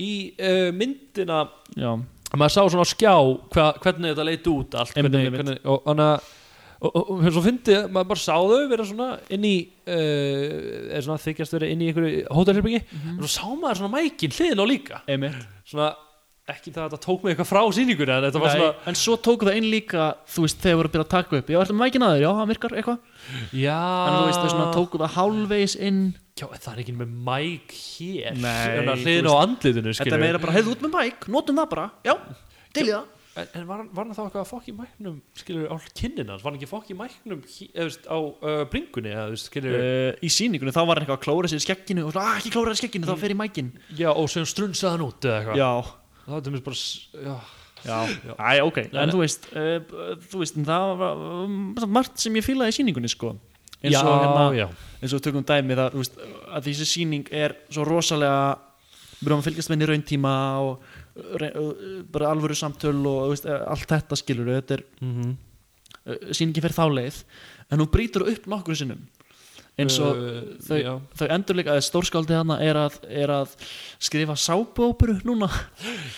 Speaker 1: í uh, myndina
Speaker 5: Já,
Speaker 1: maður sá svona á skjá hva, hvernig þetta leit út allt
Speaker 5: Einmitt,
Speaker 1: hvernig,
Speaker 5: einmitt.
Speaker 1: hvernig, og þannig að og, og, og svo fyndið, maður bara sá þau vera svona inn í uh, eða svona þykjast verið inn í einhverju hótelherbyggi og svo sá maður svona mækin hliðin á líka
Speaker 5: einmitt
Speaker 1: svona, ekki það að þetta tók mig eitthvað frá sýningunni en þetta var
Speaker 5: Nei,
Speaker 1: svona,
Speaker 5: en svo tóku það inn líka þú veist, þegar voru að byrja að taka upp já, ætlum mækina þér, já, hann virkar eitthvað
Speaker 1: já
Speaker 5: þannig að þú veist, þau
Speaker 1: Ah.
Speaker 5: svona tóku það hálfvegis inn
Speaker 1: já, en það er ekki með mæk hér
Speaker 5: Nei,
Speaker 1: en að
Speaker 5: þú
Speaker 1: hliðin á
Speaker 5: veist-
Speaker 1: andlitinu skilur
Speaker 5: þetta er meira bara, heyrðu út með mæk, notum það bara já, til í það
Speaker 1: en, en var, hann- var hann þá eitthvað að fokk í mæknum skilur á kinnin hans, var hann ekki fokk í mæknum hí- eða, þú veist, á uh, bringunni eða, þú veist, skilur,
Speaker 5: Uh, í síningunni þá var hann eitthvað að klóra sér í skekkinu og svona, "Ah, ekki klóra sér í skekkinu, þá fer í mækin
Speaker 1: já, og sem strunsaði hann út eða eitthvað,
Speaker 5: já,
Speaker 1: það var til mér bara s- já,
Speaker 5: já, Æ, ok, en þú veist uh, þú veist, en það var uh, margt sem ég fílaði í síningunni sko eins og, hérna,
Speaker 1: já,
Speaker 5: eins og við tökum dæmi það, þú veist, að þessi síning er svo rosalega við erum að fylgjast með henni í rauntíma og uh, re- uh, bara alvöru samtöl og þú veist, eh, allt þetta skilur þetta er,
Speaker 1: Mhm.
Speaker 5: uh, síningin fer þá leið en hún brýtur upp nokkur sinnum eins og
Speaker 1: Uh,
Speaker 5: þau,
Speaker 1: já.
Speaker 5: þau endurleika að stórskáldið hana er að, er að skrifa sápuóperu núna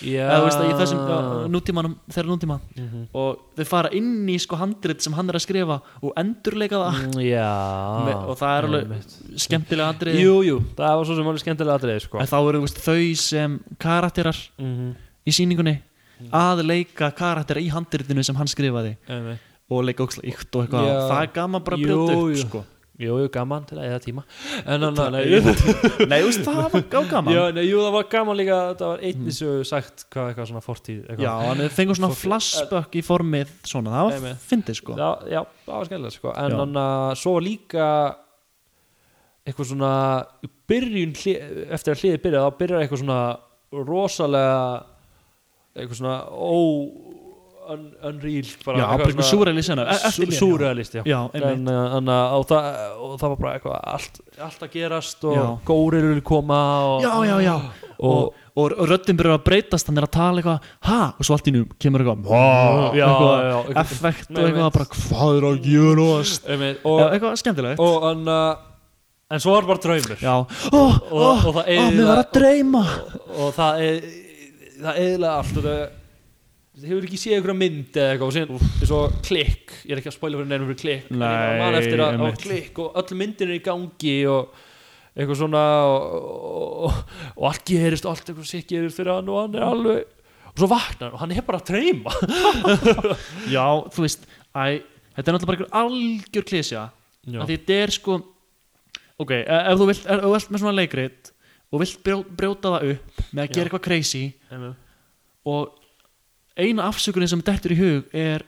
Speaker 1: já
Speaker 5: eða þú veist að í þessum uh, nútímanum þeirra nútíma
Speaker 1: Mhm.
Speaker 5: og þau fara inn í sko handrit sem hann er að skrifa og endurleika það
Speaker 1: Mm, já
Speaker 5: Me, og það er alveg
Speaker 1: einmitt.
Speaker 5: skemmtilega andrið
Speaker 1: jú, jú, það var svo sem alveg skemmtilega atriði sko.
Speaker 5: en þá eru þú veist, þau sem karakterar
Speaker 1: mm -hmm.
Speaker 5: í síningunni að leika karaktera í handritinu sem hann skrifaði og leika óksla ykt og eitthvað
Speaker 1: Já.
Speaker 5: það er gaman bara að
Speaker 1: Jú,
Speaker 5: brjóta upp
Speaker 1: jú.
Speaker 5: sko.
Speaker 1: jú, jú, gaman til að eða tíma en hann, nei,
Speaker 5: nei, þú veist, það var gá gaman
Speaker 1: já, nei, jú, það var gaman líka það var einnig sögu sagt hvað eitthvað svona fortíð eitthvað.
Speaker 5: já, hann fengur svona flashback í formið svona, það var
Speaker 1: Einmitt.
Speaker 5: fyndið sko
Speaker 1: Já, já, það var skemmtilegt sko. en
Speaker 5: Já.
Speaker 1: hann að svo var líka eitthvað svona í byrjun, hlé- eftir að hliðið byrja þá byrjar eitthvað svona rosalega eitthvað svona ó un, unreal bara
Speaker 5: já, bara eitthvað súræli sena
Speaker 1: súrealist já.
Speaker 5: já, einmitt
Speaker 1: En, uh, en, uh, og, það, og það var bara eitthvað allt, allt að gerast og
Speaker 5: Já.
Speaker 1: górir vil koma og,
Speaker 5: já, já, já og,
Speaker 1: Og-
Speaker 5: og, og röddin byrjar að breytast hann er að tala eitthvað, ha, og svo allt í nú kemur eitthvað, ha,
Speaker 1: Já,
Speaker 5: eitthvað,
Speaker 1: já, eitthvað-
Speaker 5: effekt og
Speaker 1: Nei,
Speaker 5: eitthvað
Speaker 1: einmitt.
Speaker 5: bara, hvað er að gera núast
Speaker 1: Einmitt,
Speaker 5: Já,
Speaker 1: og,
Speaker 5: eitthvað skemmtilegt
Speaker 1: og en, uh, en svo var bara draumur
Speaker 5: já, ó, ó,
Speaker 1: og
Speaker 5: ó,
Speaker 1: það eyðir
Speaker 5: mér var að
Speaker 1: það-
Speaker 5: dreyma
Speaker 1: og það er það eðla allt og það það hefur ekki séð einhverja mynd eða eitthvað og síðan er svo klikk, ég er ekki að spóla fyrir nefnum fyrir klikk en ég
Speaker 5: Nei,
Speaker 1: bara man eftir að á
Speaker 5: einmitt.
Speaker 1: klikk og öll myndin er í gangi og eitthvað svona og, og, og allt gerist, allt eitthvað sér gerist fyrir hann og hann er alveg og svo vaknar hann og hann er bara að treyma
Speaker 5: já, þú veist, æ, þetta er náttúrulega bara einhver algjör klísja
Speaker 1: Já.
Speaker 5: að því þetta er sko ok, e- ef þú vilt, ef þú vilt með svona leikrit og vilt brjó- brjóta það upp með að gera eitthvað crazy og eina afsökunin sem dettur í hug er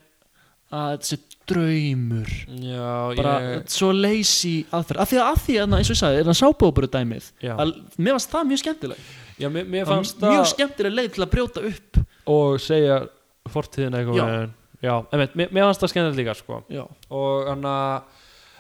Speaker 5: að þessi draumur
Speaker 1: já,
Speaker 5: bara svo lazy aðferð af því að, að því að eins og ég sagði, þannig að sábóburu dæmið
Speaker 1: Já.
Speaker 5: að, mér fannst það mjög skemmtileg
Speaker 1: já mér, mér
Speaker 5: mjög
Speaker 1: fannst það
Speaker 5: skemmtileg leið til að brjóta upp
Speaker 1: og segja fortíðin eitthvað
Speaker 5: Já.
Speaker 1: veginn. já, einmitt, mér, mér fannst það skemmtilegt líka sko.
Speaker 5: já,
Speaker 1: og hann að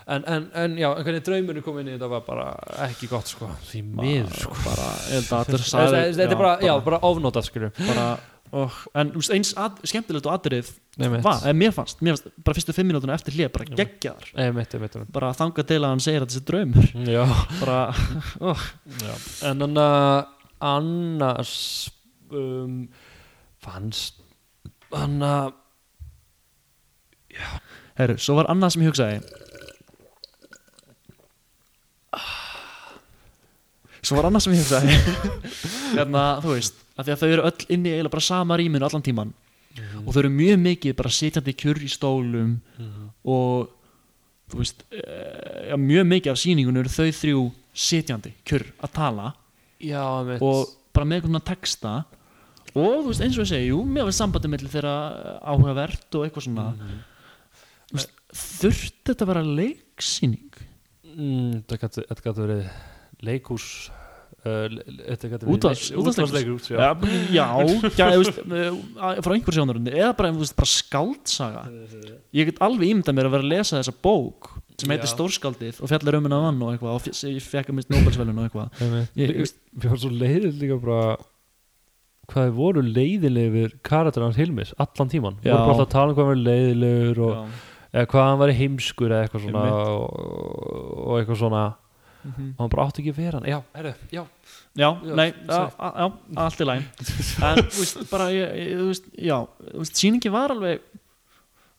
Speaker 1: en, en, en já, en hvernig draumurinn kom inn í þetta var bara ekki gott sko því miður sko
Speaker 5: bara, ég held að þetta er
Speaker 1: Þetta
Speaker 5: sagði-
Speaker 1: þetta er bara, já,
Speaker 5: bara,
Speaker 1: bara ofnótað skilur
Speaker 5: bara oh, en þú veist, eins að, skemmtilegt og aðrið
Speaker 1: Nei, mitt.
Speaker 5: var, en mér fannst, mér fannst bara fyrstu fimm minútuna eftir hlið, bara geggjaðar
Speaker 1: Nei, mitt, mitt, mitt
Speaker 5: bara þangað til að hann segir að þessi draumur
Speaker 1: Já,
Speaker 5: bara,
Speaker 1: já En hann að annars um, fannst hann eh, að
Speaker 5: herru, svo var annað sem ég hugsaði svo var annað sem ég hugsaði [laughs] hérna, þú veist af því að þau eru öll inni í eiginlega bara sama rýminu allan tíman og þau eru mjög mikið bara sitjandi kjur í stólum og þú veist eh, ja, mjög mikið af sýningunum eru þau þrjú sitjandi kjur að tala
Speaker 1: já, mitt
Speaker 5: og bara með einhvern texta og þú veist eins og ég segi, jú, mér var sambandi mellir þeirra eh, áhugavert og eitthvað svona
Speaker 1: Mhm.
Speaker 5: þú veist, þurfti þetta að vera leiksýning
Speaker 1: mm, Þetta gæti- þetta gæti verið leikús uh, le- le- Þetta gæti verið
Speaker 5: Útvarps-
Speaker 1: leik- útvarpsleikhús, já.
Speaker 5: já, já, já þú veist, eh, að- frá einhver sjónarundi eða bara, þú veist, bara skáldsaga ég get alveg ímyndað mér að vera að lesa þessa bók sem heitir
Speaker 1: Já.
Speaker 5: Stórskaldið og fjallar um hennar mann og eitthvað og fe- ég fekk að minnst Nobelsvelun og eitthvað
Speaker 1: Einmitt.
Speaker 5: Ég- ég-
Speaker 1: Mér var svo leiðið líka bara hvað þið voru leiðilegur karakter hans Hilmis allan tíman
Speaker 5: Já.
Speaker 1: voru bara alltaf að tala um hvað hann var leiðilegur og,
Speaker 5: Já.
Speaker 1: eða hvað hann var heimskur eða eitthvað svona
Speaker 5: Einmitt.
Speaker 1: og, og eitthvað svona
Speaker 5: Mhm.
Speaker 1: og hann bara átti ekki að vera hann já, herru, já,
Speaker 5: Já,
Speaker 1: Já,
Speaker 5: nei,
Speaker 1: sorry.
Speaker 5: já, a- já, allt í læn
Speaker 1: [laughs]
Speaker 5: En, þú veist, bara, ég, ég, þú veist, já þú veist, Sýningi var alveg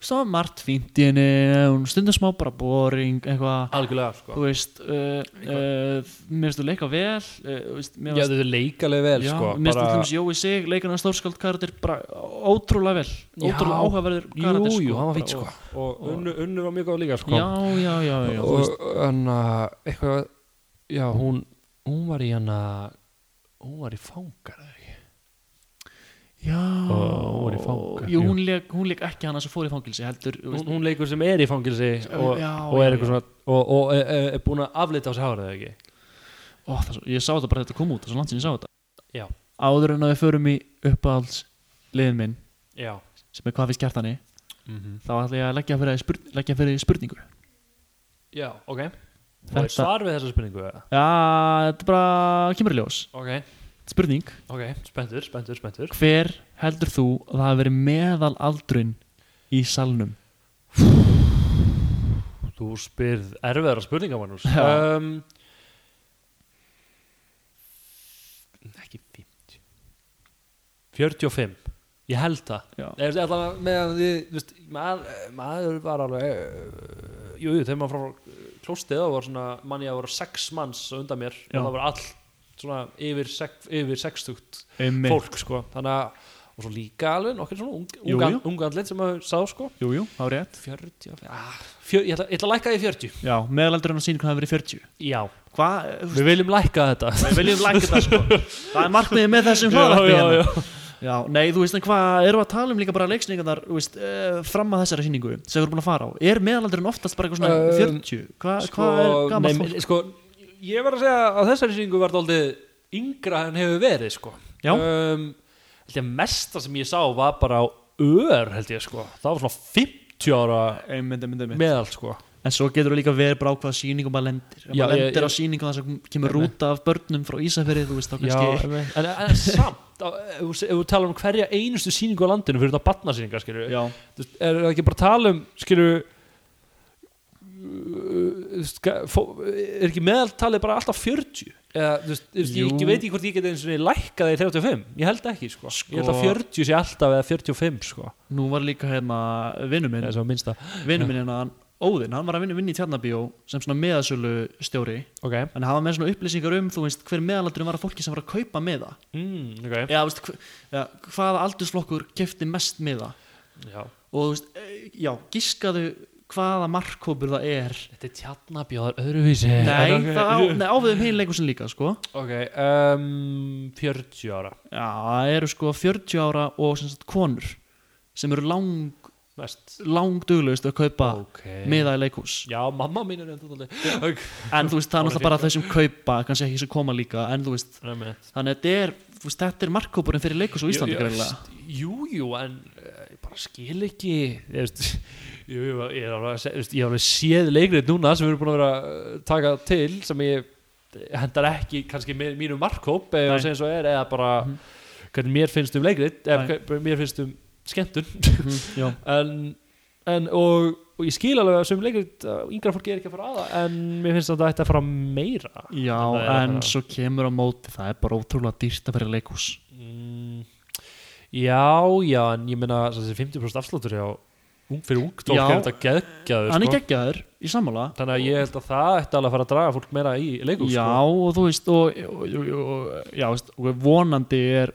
Speaker 5: Svo margt fínt í henni hún Stundum smá bara boring, eitthvað
Speaker 1: algjörlega sko.
Speaker 5: Þú veist, uh, uh, mér finnst þú leika vel uh, þú veist, Mér
Speaker 1: já,
Speaker 5: finnst
Speaker 1: þetta er leikalega vel
Speaker 5: Já,
Speaker 1: sko,
Speaker 5: mér finnst þú hljómsi Jói Sig, leikana stórskáld karatir bara ótrúlega vel,
Speaker 1: Já.
Speaker 5: ótrúlega áhugaverður
Speaker 1: jú,
Speaker 5: karatir sko,
Speaker 1: jú, hann var
Speaker 5: bara,
Speaker 1: fínt sko.
Speaker 5: og-
Speaker 1: og unnu, unnu var mjög góð líka sko.
Speaker 5: Já, já, já, já, þú veist,
Speaker 1: og hann að, eitthvað já, hún, hún var í hann að hún var í fangar eða ekki
Speaker 5: já
Speaker 1: og hún var í fangar líka
Speaker 5: Jú, hún leik, hún leik ekki hana sem fór í fangilsi heldur þú
Speaker 1: hún,
Speaker 5: veist-
Speaker 1: hún leikur sem er í fangilsi og,
Speaker 5: Já,
Speaker 1: og
Speaker 5: já,
Speaker 1: er eitthvað
Speaker 5: já.
Speaker 1: svona og, og er, er- er búin að aflita á sig hárið eða ekki
Speaker 5: Ó, það er svo, Ég sá þetta bara þetta kom út, það er svo langt sem ég sá þetta
Speaker 1: Já.
Speaker 5: Áður en að við förum í uppáhalds liðin minn
Speaker 1: já,
Speaker 5: sem er hvað við skjartani
Speaker 1: mm -hmm.
Speaker 5: þá ætla ég að leggja fyrir, spyr, leggja fyrir því spurningu
Speaker 1: já ok og
Speaker 5: Þetta-
Speaker 1: er svar við þessa spurningu eða?
Speaker 5: Já, þetta er bara kemur í ljós
Speaker 1: ok,
Speaker 5: Spurning,
Speaker 1: ok, spenntur, spenntur, spenntur
Speaker 5: hver heldur þú að það hafi verið meðalaldrun í salnum?
Speaker 1: þú spyrð erfiðara spurninga Magnús
Speaker 5: Já.
Speaker 1: um, ekki 50 45 ég held það
Speaker 5: Já.
Speaker 1: Nei, veist, allan að- meðan þið, þú veist, maður, maður var alveg uh, jú, jú, þegar maður frá klóstið þá var svona manni að voru sex manns á undan mér
Speaker 5: Já.
Speaker 1: og það var all svona yfir, sek, yfir sextugt
Speaker 5: Einmitt.
Speaker 1: fólk sko þannig að og svo líka alveg nokkur svona ung,
Speaker 5: Jú,
Speaker 1: unga,
Speaker 5: jú.
Speaker 1: unga andlit sem maður sá sko
Speaker 5: Jú, jú, á rétt
Speaker 1: 40, ah, fjör, ég, ætla, ég ætla að lækka því í 40
Speaker 5: Já, meðalaldrun á síningu hafi verið 40
Speaker 1: já,
Speaker 5: Hvað,
Speaker 1: við viljum lækka þetta
Speaker 5: við viljum lækka það sko Það er markmiðið með þessum
Speaker 1: já,
Speaker 5: hlaðarpi
Speaker 1: já,
Speaker 5: hérna.
Speaker 1: já.
Speaker 5: Já, nei, þú veist, en hvað erum við að tala um líka bara leiksningarnar, þú veist, uh, fram að þessari síningu sem við erum búin að fara á, er meðalaldurinn oftast bara eitthvað svona
Speaker 1: Um,
Speaker 5: 40, Hva, hvað er gammalt
Speaker 1: nei,
Speaker 5: fólk?
Speaker 1: sko, ég var að segja að þessari sýningu var daldið yngra en hefur verið sko.
Speaker 5: Já.
Speaker 1: um, held ég mesta sem ég sá var bara á ör held ég sko. það var svona 50 ára
Speaker 5: Einmitt, einmitt, einmitt.
Speaker 1: meðal sko.
Speaker 5: En svo getur þú líka verið bara á hvaða síningum maður lendir, ef
Speaker 1: Já,
Speaker 5: maður
Speaker 1: ég-
Speaker 5: lendir á
Speaker 1: ég-
Speaker 5: síningum þar sem kemur rúta af börnum frá Ísafjörði, þú veist, þá
Speaker 1: Já,
Speaker 5: kannski,
Speaker 1: en, en, en samt á, ef, þú se- ef þú talar um hverja einustu sýningu á landinu fyrir þetta barnasýningar skilur
Speaker 5: já,
Speaker 1: er það ekki bara að tala um uh, skilur er ekki meðaltalið bara alltaf 40 eða, þú veist, þú veist, ég
Speaker 5: Jú.
Speaker 1: ekki- veit ekki hvort ég geti eins og niður lækkaði í 35, ég held ekki sko. ég held að
Speaker 5: Sko-
Speaker 1: 40 sé alltaf eða 45 sko.
Speaker 5: nú var líka hérna vinnu minn,
Speaker 1: eða sem minnst það
Speaker 5: vinnu minn hérna, hann- Óðinn, hann var að vinna vinna í Tjarnabíó sem svona meðasölu stjóri,
Speaker 1: okay.
Speaker 5: en hann var með svona upplýsingar um, þú veist, hver meðalaldurinn var að fólki sem var að kaupa meða.
Speaker 1: Mm, okay.
Speaker 5: eða, veist, hva- eða, hvaða aldursflokkur kefti mest miða
Speaker 1: Já.
Speaker 5: og þú veist, e, já, gískaðu hvaða markkópur það er
Speaker 1: þetta er tjarnabjóðar öðruvísi
Speaker 5: nei,
Speaker 1: ok,
Speaker 5: það á, nei, á við um heilleikusin líka sko.
Speaker 1: ok, um, 40 ára
Speaker 5: já, það eru sko 40 ára og sem sagt konur sem eru lang,
Speaker 1: mest
Speaker 5: lang duglegust að kaupa
Speaker 1: ok
Speaker 5: miða í leikus
Speaker 1: já, mamma mín er enda dálítið.
Speaker 5: en þú veist, það er náttúrulega bara þau sem kaupa kannski ekki sem koma líka, en þú veist
Speaker 1: Ok,
Speaker 5: þannig að þetta er, þú veist, þetta er markkópurinn fyrir leikus á Íslandi
Speaker 1: Jú, jú,
Speaker 5: greinlega
Speaker 1: st- Jú, jú, en uh, ég bara skil ekki ég veist [laughs] Jú, jú, ég er alveg, að se- þú veist, ég er alveg séð leikrið núna sem við erum búin að vera að taka til sem ég hendar ekki kannski mér, mínu markhóp eða
Speaker 5: Nei. Mhm.
Speaker 1: sem svo er eða bara hvernig mér finnst um leikrið eða
Speaker 5: Nei.
Speaker 1: hver- mér finnst um skemmtun
Speaker 5: [laughs] já,
Speaker 1: en, en og, og ég skil alveg að sem leikrið uh, yngra fólki er ekki að fara aða en mér finnst að þetta ætti að fara meira
Speaker 5: já
Speaker 1: Það er
Speaker 5: en
Speaker 1: það.
Speaker 5: svo kemur á móti það er bara ótrúlega dýrt að fyrir leikus
Speaker 1: Mm, já, já, en ég meina þessi 50% afsláttur hjá ung fyrir ung tók
Speaker 5: Já.
Speaker 1: er þetta geggjaður
Speaker 5: hann er
Speaker 1: sko.
Speaker 5: geggjaður í sammála
Speaker 1: þannig að ég held að það ætti alveg að fara að draga fólk meira í leikús
Speaker 5: já
Speaker 1: sko.
Speaker 5: og þú veist og, og, og, og, já, veist, og vonandi er,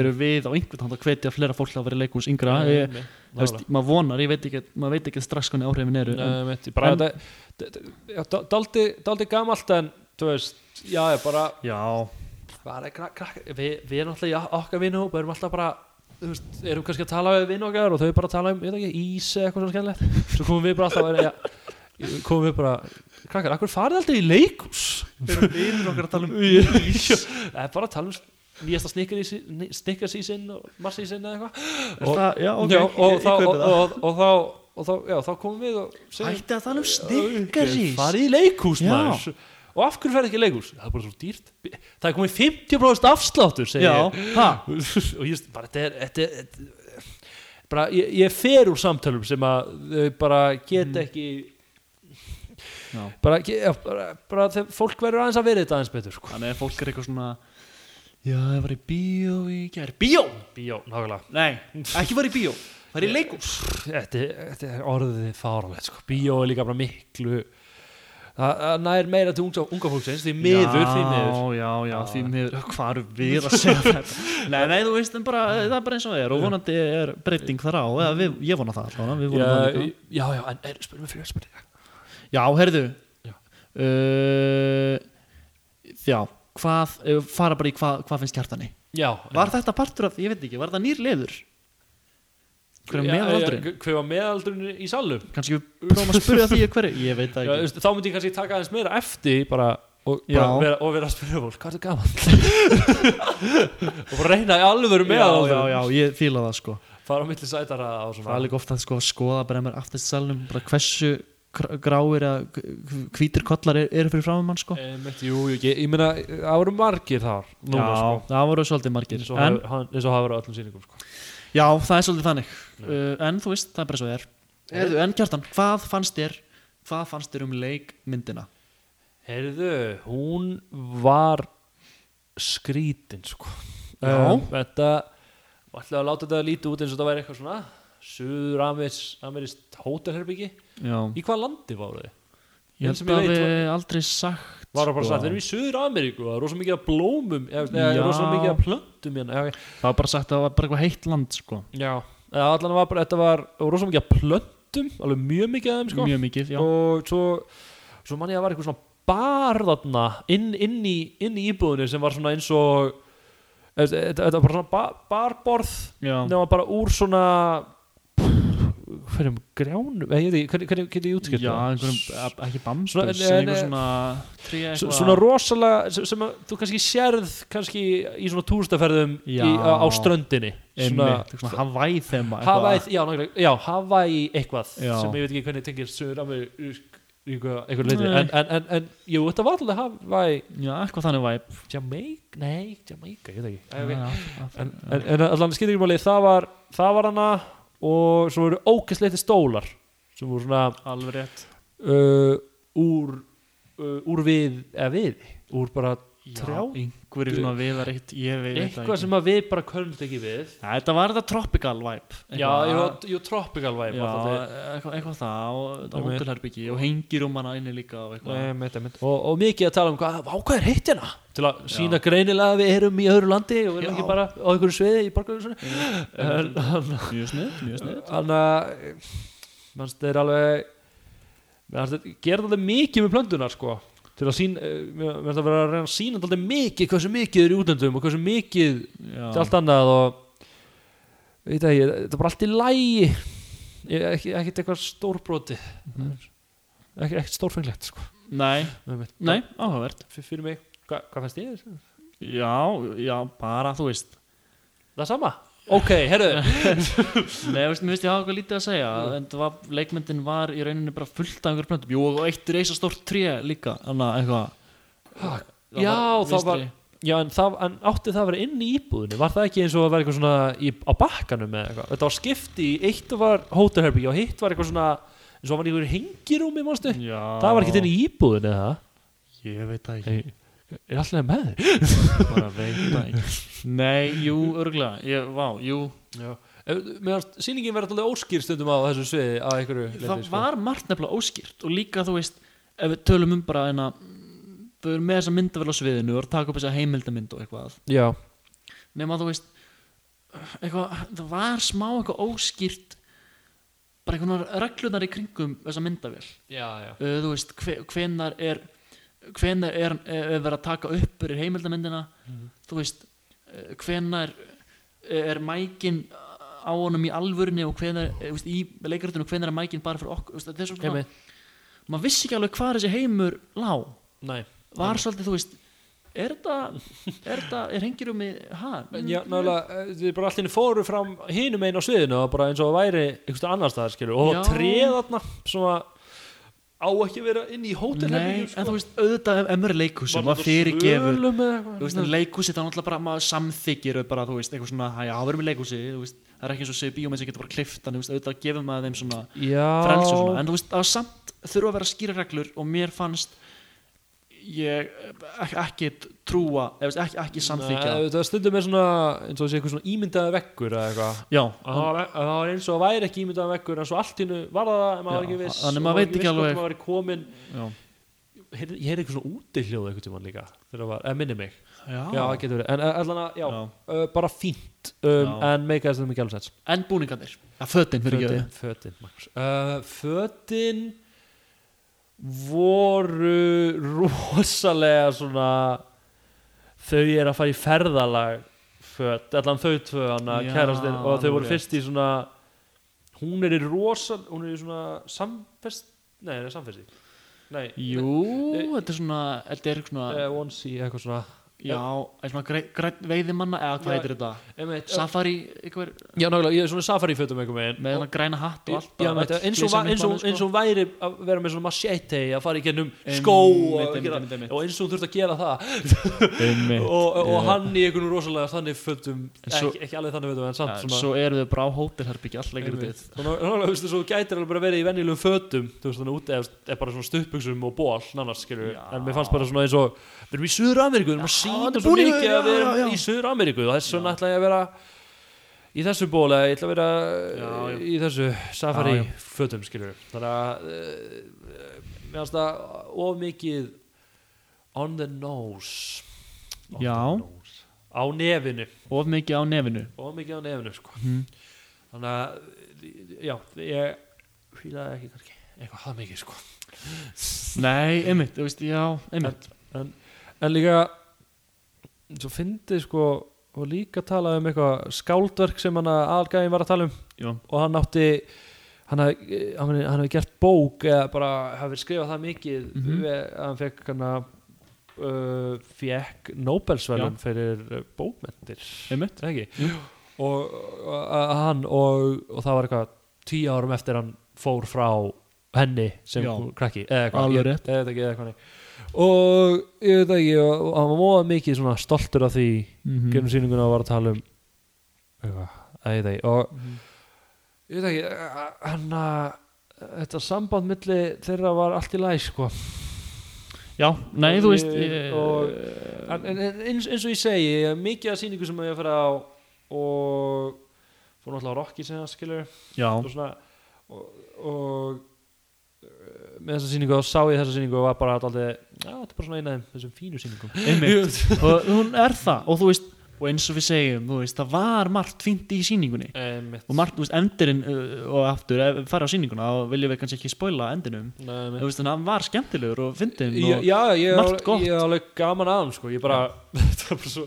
Speaker 5: eru við á einhvern hann að hvetja fleira fólk að vera leikús yngra
Speaker 1: sko. Nei,
Speaker 5: ég,
Speaker 1: nei,
Speaker 5: þú veist,
Speaker 1: nákvæmlega.
Speaker 5: maður vonar, ég veit ekki maður veit ekki strax hvernig áhrifin eru en,
Speaker 1: Nei, mitt, bara
Speaker 5: en-
Speaker 1: þetta- þetta já, dá- dálítið- dálítið gamalt en þú veist, já, ég bara,
Speaker 5: já,
Speaker 1: bara krak, krak, við, við erum alltaf í okkar vinahóp erum alltaf bara þú veist, erum kannski að tala við vinn okkar og þau bara að tala um, ég veit ekki, ís eða eitthvað svo skemmtilegt svo komum við bara alltaf ja, komum við bara, krakkar, akkur farið alltaf í leikús
Speaker 5: við erum okkar að tala [laughs] um
Speaker 1: [laughs] Það er bara að tala um nýjasta snikkarsísinn og massísinn eða eitthvað og,
Speaker 5: það, já, ok,
Speaker 1: já, og,
Speaker 5: ég,
Speaker 1: þá-
Speaker 5: ég
Speaker 1: og,
Speaker 5: kaupi það
Speaker 1: og, og, þá- og þá já, þá komum við og
Speaker 5: hætti að tala um snikarís
Speaker 1: farið í leikús
Speaker 5: Já.
Speaker 1: maður og af hverju ferði ekki í leikús? Það er bara svo dýrt Það er komið 50% afsláttur segi
Speaker 5: já,
Speaker 1: ég. [laughs]
Speaker 5: ha
Speaker 1: og ég veist, bara þetta er, þetta er, þetta er bara ég, ég fer úr samtölum sem að þau bara get ekki
Speaker 5: Já.
Speaker 1: bara, ge- Mhm. já, bara, bara þegar fólk verður aðeins að verið þetta aðeins betur sko.
Speaker 5: þannig að fólk er eitthvað svona já, það var í bíó í gær bíó,
Speaker 1: bíó, nákvæmlega
Speaker 5: nei, ekki var í bíó það er í leikús
Speaker 1: þetta, er- þetta er orðið fáralegt sko. bíó er líka bara miklu það það nær meira til unga, unga fólksins því miður, því miður
Speaker 5: já, já, já, því miður, hvað eru við að segja þetta [laughs] nei, nei, þú veist, en bara, eh, það er bara eins og það er og vonandi er breyting þar á eða við, ég vona það allavega, við vonum það
Speaker 1: já,
Speaker 5: líka
Speaker 1: já, já, en er, spyrum við fyrir spurninga
Speaker 5: já, heyrðu
Speaker 1: Já.
Speaker 5: uh, já, hvað eh, fara bara í hvað, hvað finnst kjartani
Speaker 1: já,
Speaker 5: var þetta partur af, ég veit ekki, var þetta nýr liður Hver er
Speaker 1: Já,
Speaker 5: meðalaldurinn?
Speaker 1: já, Hver var meðaldurinn í salum
Speaker 5: Kannski við prófum að [laughs] spyrja því að hverju Ég veit það
Speaker 1: já,
Speaker 5: ekki
Speaker 1: veist, Þá myndi ég kannski taka aðeins meira eftir bara, og, bara
Speaker 5: Já.
Speaker 1: vera, og vera að spyrja fólk Hvað er gaman? [laughs] og bara reyna í alvöru
Speaker 5: Já, já,
Speaker 1: meðaldurinn
Speaker 5: já, ég fíla það sko
Speaker 1: Fara á milli sætara á
Speaker 5: Það er
Speaker 1: svona
Speaker 5: líka ofta sko, að skoða bara með aftast í salnum bara hversu gr- gráir að hvítir kollar er- eru fyrir framum mann sko.
Speaker 1: Um, jú, jú, ég, ég meina, það voru margir þar núna,
Speaker 5: já, það voru svolítið
Speaker 1: sko,
Speaker 5: margir
Speaker 1: eins og
Speaker 5: en,
Speaker 1: hafa- hann- eins og hafa verið á öllum sýningum sko.
Speaker 5: Já, það er svolítið þannig uh, En þú veist, það er bara svo það er Heyrðu, En Kjartan, hvað fannst þér hvað fannst þér um leikmyndina?
Speaker 1: Heyrðu, hún var skrítin sko.
Speaker 5: Já.
Speaker 1: um, Þetta var alltaf að láta þetta lítið út eins og þetta væri eitthvað svona Suður Amerist hótelherbyggi
Speaker 5: Já,
Speaker 1: Í hvað landi var þið?
Speaker 5: ég
Speaker 1: eins og ég veit sko.
Speaker 5: held að við
Speaker 1: var-
Speaker 5: aldrei sagt
Speaker 1: Var það bara
Speaker 5: sko.
Speaker 1: sagt, við erum í Suður Ameríku Það er rosa mikið af blómum eða,
Speaker 5: Já.
Speaker 1: eða rosa mikið af plöntum hérna. já, ok.
Speaker 5: Það var bara sagt að það var bara eitthvað heitt land sko.
Speaker 1: já, eða allan var bara, þetta var rosa mikið af plöntum Alveg mjög mikið af þeim sko
Speaker 5: Mjög mikið, já
Speaker 1: og svo, svo mann ég að var eitthvað svona bar þarna inn, inn, í, inn í íbúðinu sem var svona eins og eh, þetta þetta var bara svona ba barborð
Speaker 5: Já,
Speaker 1: nema bara úr svona hverjum grjánum eh, ég veit ekki, hvernig hvernig get ég útskipt
Speaker 5: já
Speaker 1: það?
Speaker 5: einhverjum, e- ekki bambus
Speaker 1: Svona- en-
Speaker 5: en
Speaker 1: en-
Speaker 5: einhver svona tré
Speaker 1: S-
Speaker 5: eitthvað
Speaker 1: svona rosalega sem, sem að þú kannski sérð kannski í svona túristaferðum í,
Speaker 5: Já.
Speaker 1: á, á ströndinni
Speaker 5: svona, svona Hawaii þema
Speaker 1: Hawaii, já, nákvæmlega, já, Hawaii eitthvað
Speaker 5: Já.
Speaker 1: sem ég veit ekki hvernig tengir sögur af mig einhver leiti
Speaker 5: Nei.
Speaker 1: en, en, en, en jú, þetta var alltaf Hawaii
Speaker 5: já, eitthvað þannig væp
Speaker 1: Jamaica, nei, Jamaica, ég veit ekki Æ, okay.
Speaker 5: okay.
Speaker 1: en, en, en allan skiptir ekki máli það var, það var hana og svo voru ógæsleiti stólar sem voru svona
Speaker 5: alveg rétt
Speaker 1: uh, úr uh, úr við, eða við úr bara
Speaker 5: trjá
Speaker 1: trjá
Speaker 5: einhverju svona viðar eitt ég veit það
Speaker 1: eitthvað
Speaker 5: ekki.
Speaker 1: sem að við bara könnumst ekki við
Speaker 5: Nei, þetta var þetta tropical væp
Speaker 1: já, jú, jú, tropical vibe
Speaker 5: já
Speaker 1: var þetta.
Speaker 5: eitthvað, eitthvað það og þetta
Speaker 1: Einmitt.
Speaker 5: hótelherbyggi og hengir um hana inni líka og eitthvað
Speaker 1: Nei, mitt, mitt. Og, og mikið að tala um hvað, vá, hvað er heitt hérna til að sína greinilega að við erum í öðru landi og við erum
Speaker 5: Já.
Speaker 1: ekki bara á einhverju sviði í borgarhúsunni
Speaker 5: mjög snið, mjög snið
Speaker 1: þannig að mannst þeir alveg mannst þeir gerða alveg mikið með plöndunar sko til að sína, mannst að vera að reyna að sína alltaf mikið hversu mikið er í útlöndum og hversu mikið til allt annað og ég veit ekki, þetta er bara allt í lægi ekki, ekkert eitthvað stórbroti
Speaker 5: Mhm.
Speaker 1: ekki, ekkert stórfenglegt sko
Speaker 5: nei,
Speaker 1: Nei, mitt.
Speaker 5: nei, áhugavert
Speaker 1: F- fyrir mig, Hva, hvað fannst ég þessu?
Speaker 5: já, já, bara þú veist
Speaker 1: það sama, ok, herru
Speaker 5: Nei, veist, mér finnst ég hafa eitthvað lítið að segja en það var, leikmyndin var í rauninni bara fullt af einhverjum plöntum, jú og eitt reysa stórt tré líka, þannig að eitthvað
Speaker 1: já, það var já, en, það, en átti það að vera inn í íbúðinu var það ekki eins og að vera eitthvað svona í, á bakkanum eða eitthvað, þetta var skipti í- eitt var hótelherbyggi og hitt var eitthvað svona eins og hann var í einhverju hengirúmi, mástu
Speaker 5: já,
Speaker 1: það var ekki inn í íbúðinu eða
Speaker 5: ég veit það ekki,
Speaker 1: Nei, er alltaf með þér
Speaker 5: bara veit það ekki nei, jú, örgulega, ég, vá, jú
Speaker 1: Eh, meðan sýningin verður alltaf óskýr stundum á þessu sviði að einhverju sko.
Speaker 5: það var margt nefnilega óskýrt og líka þú veist, ef við tölum um bara en að þau eru með þessa myndavel á sviðinu og eru að taka upp þessa heimildamind og eitthvað
Speaker 1: já,
Speaker 5: nema þú veist eitthvað, það var smá eitthvað óskýrt bara einhvern reglunar í kringum þessa myndavél
Speaker 1: já, já
Speaker 5: uh, þú veist, hve- hvenar er hvenar er, er, er verið að taka upp fyrir heimildamyndina þú veist, uh, hvenar er mækin á honum í alvörni og hvenar, eh, þú veist, í leikaritunum hvenar er mækin bara fyrir okkur, þú veist, þetta er svona
Speaker 1: Einmitt.
Speaker 5: maður vissi ekki alveg hvað þessi heimur lá,
Speaker 1: Nei.
Speaker 5: var svolítið, þú veist er þetta, er þetta er hengir um mig, ha?
Speaker 1: En já, nálega, eh, þið bara allir fóru fram hinum einn á sviðinu og bara eins og það væri einhverstað annar staðar, skilur, og
Speaker 5: Já.
Speaker 1: treð þarna sem að á ekki að vera inn í
Speaker 5: Nei,
Speaker 1: hótelherbygjum,
Speaker 5: en þú veist, auðvitað ef- ef maður er leikhúsi,
Speaker 1: Var
Speaker 5: maður
Speaker 1: þetta
Speaker 5: fyrirgefur
Speaker 1: svölum eða eitthvað?
Speaker 5: þú veist, en leikhúsi þá náttúrulega bara maður samþykir bara, þú veist, eitthvað svona, "Hæ, já, við erum í leikhúsi þú veist, það er ekki eins og segir bíómið sem getur bara klift en þú veist, auðvitað gefur maður þeim svona
Speaker 1: Já.
Speaker 5: frelsi og svona, en þú veist, það var samt þurfa að vera skýra reglur og mér fannst ég eh, ek- ekki trúa, eða veist, ekki, ekki samþykja
Speaker 1: Nei, það stundum er svona, eins og sé eitthvað svona ímyndaða veggur eða eitthvað
Speaker 5: já,
Speaker 1: Það var- það var eins og væri ekki ímyndaða veggur en svo allt hinnu var það en maður var
Speaker 5: Já,
Speaker 1: ekki viss
Speaker 5: þannig
Speaker 1: og
Speaker 5: maður veit ekki
Speaker 1: viss hvort
Speaker 5: alveg-
Speaker 1: maður var komin
Speaker 5: já,
Speaker 1: Heyrði- ég heyrði eitthvað svona úti hljóð eitthvað tíma líka þegar það var, eða minni mig já,
Speaker 5: já.
Speaker 1: það getur verið, en eh, allan að, já,
Speaker 5: Já.
Speaker 1: Uh, bara fínt um,
Speaker 5: Já.
Speaker 1: en meika þess að það mikið alveg sens
Speaker 5: en búningarnir, að fötin fyrir
Speaker 1: fötin,
Speaker 5: ekki
Speaker 1: fötin, Magnús. uh, fötin voru rosalega svona þau er að fara í ferðalag föt, allan þau tvö hana
Speaker 5: Já,
Speaker 1: kærastinn og þau
Speaker 5: alveg
Speaker 1: voru
Speaker 5: rétt.
Speaker 1: fyrst í svona hún er í rosa hún er í svona samfest nei, það er samfesti nei,
Speaker 5: Jú, þetta er svona, þetta er svona,
Speaker 1: uh, one sea, eitthvað svona
Speaker 5: já, þetta er svona grei- grænn veiðimanna, eða hvað
Speaker 1: Já.
Speaker 5: heitir þetta?
Speaker 1: Einmitt, uh,
Speaker 5: Safari, einhver,
Speaker 1: já, nákvæmlega, ég er svona safari fötum eitthvað megin
Speaker 5: með hennar græna hatt og allt.
Speaker 1: Já,
Speaker 5: og
Speaker 1: meinti,
Speaker 5: öll
Speaker 1: eins, og,
Speaker 5: flysa
Speaker 1: va- eins, og,
Speaker 5: myndbandið, sko.
Speaker 1: eins og væri að vera með svona machete að fara í gennum
Speaker 5: Einmitt,
Speaker 1: skó og,
Speaker 5: einmitt,
Speaker 1: gera,
Speaker 5: einmitt, einmitt.
Speaker 1: og eins og hún þurft að gera það
Speaker 5: Einmitt,
Speaker 1: og, og
Speaker 5: já.
Speaker 1: hann í einhvern rosalega þannig fötum
Speaker 5: svo-
Speaker 1: ekki, ekki alveg þannig fötum en samt
Speaker 5: Já, en
Speaker 1: svona
Speaker 5: Svo eru þau bara á hótelherbyggi all lengur út
Speaker 1: Einmitt. Þannig að þú veist, þú gætir alveg bara verið í venjulegum fötum þú veist, þannig að úti eða- eða bara svona stuttbuxum og ból, annars skilur
Speaker 5: Já.
Speaker 1: en mér fannst bara svona eins og við erum í Suður Ameríku, við erum að
Speaker 5: þetta
Speaker 1: sína
Speaker 5: er
Speaker 1: svo
Speaker 5: búningur,
Speaker 1: mikið að við
Speaker 5: já, já,
Speaker 1: erum
Speaker 5: já.
Speaker 1: í Suður Ameríku og þess vegna ætla ég að vera í þessu ból eða ég ætla að vera eh,
Speaker 2: Já, já.
Speaker 1: í þessu safari
Speaker 5: Já, já.
Speaker 1: fötum skilur þannig að eh, mér fannst það of mikið on the nose On the
Speaker 5: Já.
Speaker 1: nose. á nefinu
Speaker 5: Of mikið á nefinu.
Speaker 1: og mikið á nefnu sko. þannig að já, ég fílaði ekki kannski eitthvað það mikið sko.
Speaker 5: Nei, einmitt, þú veist, já, einmitt.
Speaker 1: en líka svo fyndið sko og líka talaði um eitthvað skáldverk sem hann aðalgæðin var að tala um
Speaker 5: Já.
Speaker 1: og hann átti hann hafði, hann hafði- hann hafði gert bók eða bara hafði skrifað það mikið mm
Speaker 5: Mhm.
Speaker 1: að hann fekk hann að uh, fekk Nobelsverðum fyrir uh, bókmentir
Speaker 5: Einmitt.
Speaker 1: Eða ekki og, og að hann og, og það var eitthvað tíu árum eftir hann fór frá henni sem
Speaker 5: Já.
Speaker 1: krakki eða eitthvað,
Speaker 5: Alveg
Speaker 1: ég-
Speaker 5: rétt.
Speaker 1: eða eitthvað, eða eitthvað nei. og ég veit ekki og, og hann var móða mikið svona stoltur af því
Speaker 5: Mhm.
Speaker 1: gerum sýninguna og var að tala um eitthvað, að ég veit ekki og
Speaker 5: Mm.
Speaker 1: ég veit ekki eh, hann að þetta samband milli þeirra var allt í læs sko
Speaker 5: Já, nei, þú veist,
Speaker 1: Ég-
Speaker 5: ég...
Speaker 1: og- en, en, en eins, eins og ég segi ég er mikið af sýningu sem ég er að fara á og fór náttúrulega á Rocky sem það skilur
Speaker 5: Já,
Speaker 1: og svona og, og eh, með þessa sýningu þá sá ég þessa sýningu og var bara alltaf já þetta er bara svona eina af þeim, þessum fínu sýningum
Speaker 5: einmitt.
Speaker 1: [laughs]
Speaker 5: og hún er það, og þú veist, og eins og við segjum, þú veist, það var margt fínt í síningunni.
Speaker 1: einmitt
Speaker 5: Og margt, þú veist, endurinn uh, og aftur, ef við fara á sýninguna, þá viljum við kannski ekki spoila endinum.
Speaker 1: Nei,
Speaker 5: Þú veist, þannig að hann var skemmtilegur og fyndin
Speaker 1: já,
Speaker 5: og...
Speaker 1: já ég,
Speaker 5: margt
Speaker 1: ég,
Speaker 5: gott.
Speaker 1: ég er alveg gaman að hann sko ég bara [laughs] þetta er bara svo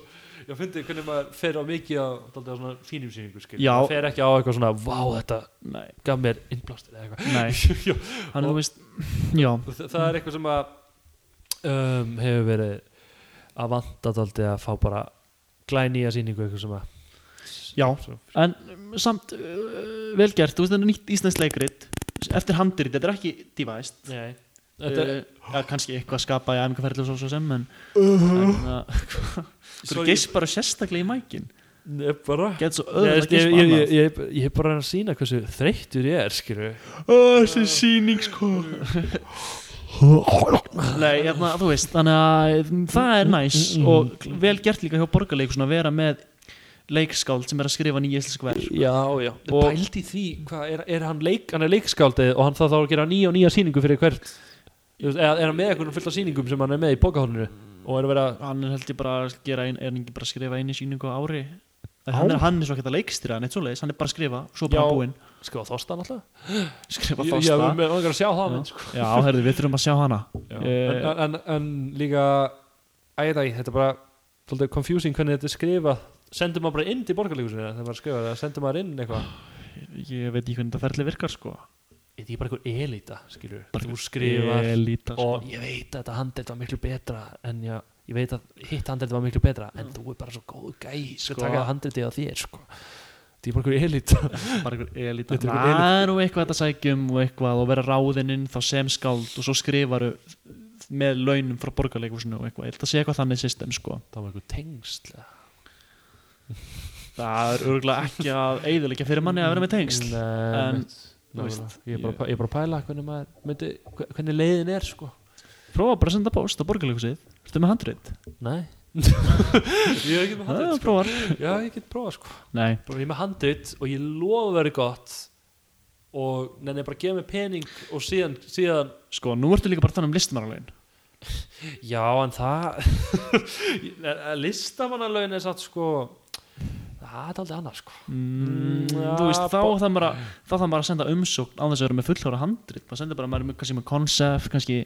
Speaker 1: ég fyndi hvernig maður fer á mikið á dálítið á svona fínum sýningu skilur
Speaker 5: Já.
Speaker 1: maður fer ekki á eitthvað svona vá þetta
Speaker 5: Nei,
Speaker 1: gaf mér innblástur eða eitthvað
Speaker 5: nei,
Speaker 1: [laughs] Já,
Speaker 5: hann, þú veist, já,
Speaker 1: Og þa- það er eitthvað sem að um, hefur verið að vanda daldi að fá bara glænýja sýningu eitthvað sem að
Speaker 5: já.
Speaker 1: svo-
Speaker 5: En um, samt, uh, vel gert, þú veist, þetta er nýtt íslensk leikrit, eftir handrit, þetta er ekki devised.
Speaker 1: Nei,
Speaker 5: Þetta
Speaker 1: þetta
Speaker 5: er
Speaker 1: er
Speaker 5: ja, kannski eitthvað að skapa í æfingarferðlu og svo sem en, en uh, þú
Speaker 1: Sorry,
Speaker 5: geist bara sérstaklega í mækin
Speaker 1: ég er bara
Speaker 5: getur svo
Speaker 1: Ég,
Speaker 5: öðruð að
Speaker 1: veist, ég,
Speaker 5: geispa
Speaker 1: ég, ég,
Speaker 5: annað
Speaker 1: ég, ég er bara að reyna að sína hversu þreyttur ég er, skilju
Speaker 5: Ó, þessi síning sko Nei, hérna, þú veist þannig að mm, það er næs og vel gert líka hjá borgarleikus að vera með leikskáld sem er að skrifa nýja íslensk verð
Speaker 1: Já, já Og pældi því, hvað, er, er hann leik hann er leikskáldið og hann þarf þá að gera nýja og nýja sýningu fyrir hvert Þú veist, eða er hann með einhvern fullt af sýningum sem hann er með í bókahóninu og er að vera
Speaker 5: hann er held ég bara að gera ein, er hann ekki bara að skrifa einu síningu á ári hann er,
Speaker 1: Á?
Speaker 5: hann er svo ekki að leikstýra neitt svoleiðis, hann er bara að skrifa svo
Speaker 1: Já.
Speaker 5: bara búinn,
Speaker 1: skrifa Sko, þosta alltaf
Speaker 5: skrifa
Speaker 1: Ég,
Speaker 5: þosta
Speaker 1: ég, ég, ég að sjá það, sko
Speaker 5: Já, herðu, við þurfum að sjá hana
Speaker 1: en,
Speaker 5: Eh,
Speaker 1: en, en, en líka æða í, þetta er bara svolítið confusing hvernig þetta er skrifað sendur maður bara inn til borgarleikusinu þegar maður er skrifað eða sendur maður inn eitthvað
Speaker 5: Ég veit ekki hvernig þetta ferli virkar sko
Speaker 1: þetta er bara einhver elita skilur
Speaker 5: Bara
Speaker 1: þú skrifar
Speaker 5: Elíta sko
Speaker 1: og ég veit að þetta handelt var miklu betra en já, ég veit að hitt handelt var miklu betra en þú er bara svo góð gæ sko
Speaker 5: Mm. Sko.
Speaker 1: taka handeltið á þér sko þetta er bara einhver elita
Speaker 5: Bara einhver elíta
Speaker 1: Þetta er einhver
Speaker 5: Það er nú eitthvað að sækjum og eitthvað og vera ráðinn inn þá sem skáld og svo skrifaru með launum frá borgarleikusinu og eitthvað Ég held að sé eitthvað þannig system
Speaker 1: [laughs]
Speaker 5: sko
Speaker 1: það var einhver tengsl
Speaker 5: Það er örgulega ekki að eiðilegja fyrir manni að vera með tengsl En,
Speaker 1: en,
Speaker 5: þú veist,
Speaker 1: ég er bara, ég er bara að pæla hvernig, maður, myndi, hvernig leiðin er sko
Speaker 5: Prófa bara að senda post á borgarleikusið Ertu með handrit?
Speaker 1: Nei [laughs] Ég er ekki með
Speaker 5: Það
Speaker 1: handrit sko.
Speaker 5: er prófar
Speaker 1: Já, ég get prófað sko
Speaker 5: Nei,
Speaker 1: Bara ég er með handrit og ég lofa verið gott og nenni bara að gefa mér pening og síðan, síðan
Speaker 5: sko, nú ertu líka bara þannig um listmannarlegin
Speaker 1: Já, en það [laughs] Listamannalögin er satt sko Það er aldrei annað sko
Speaker 5: Mm,
Speaker 1: Mm,
Speaker 5: þú veist,
Speaker 1: ja,
Speaker 5: þá
Speaker 1: bo-
Speaker 5: þarf maður að, þá þarf maður að senda umsókn á þess að vera með fullhóra handrit maður sendir bara, maður er með- kannski með konsept kannski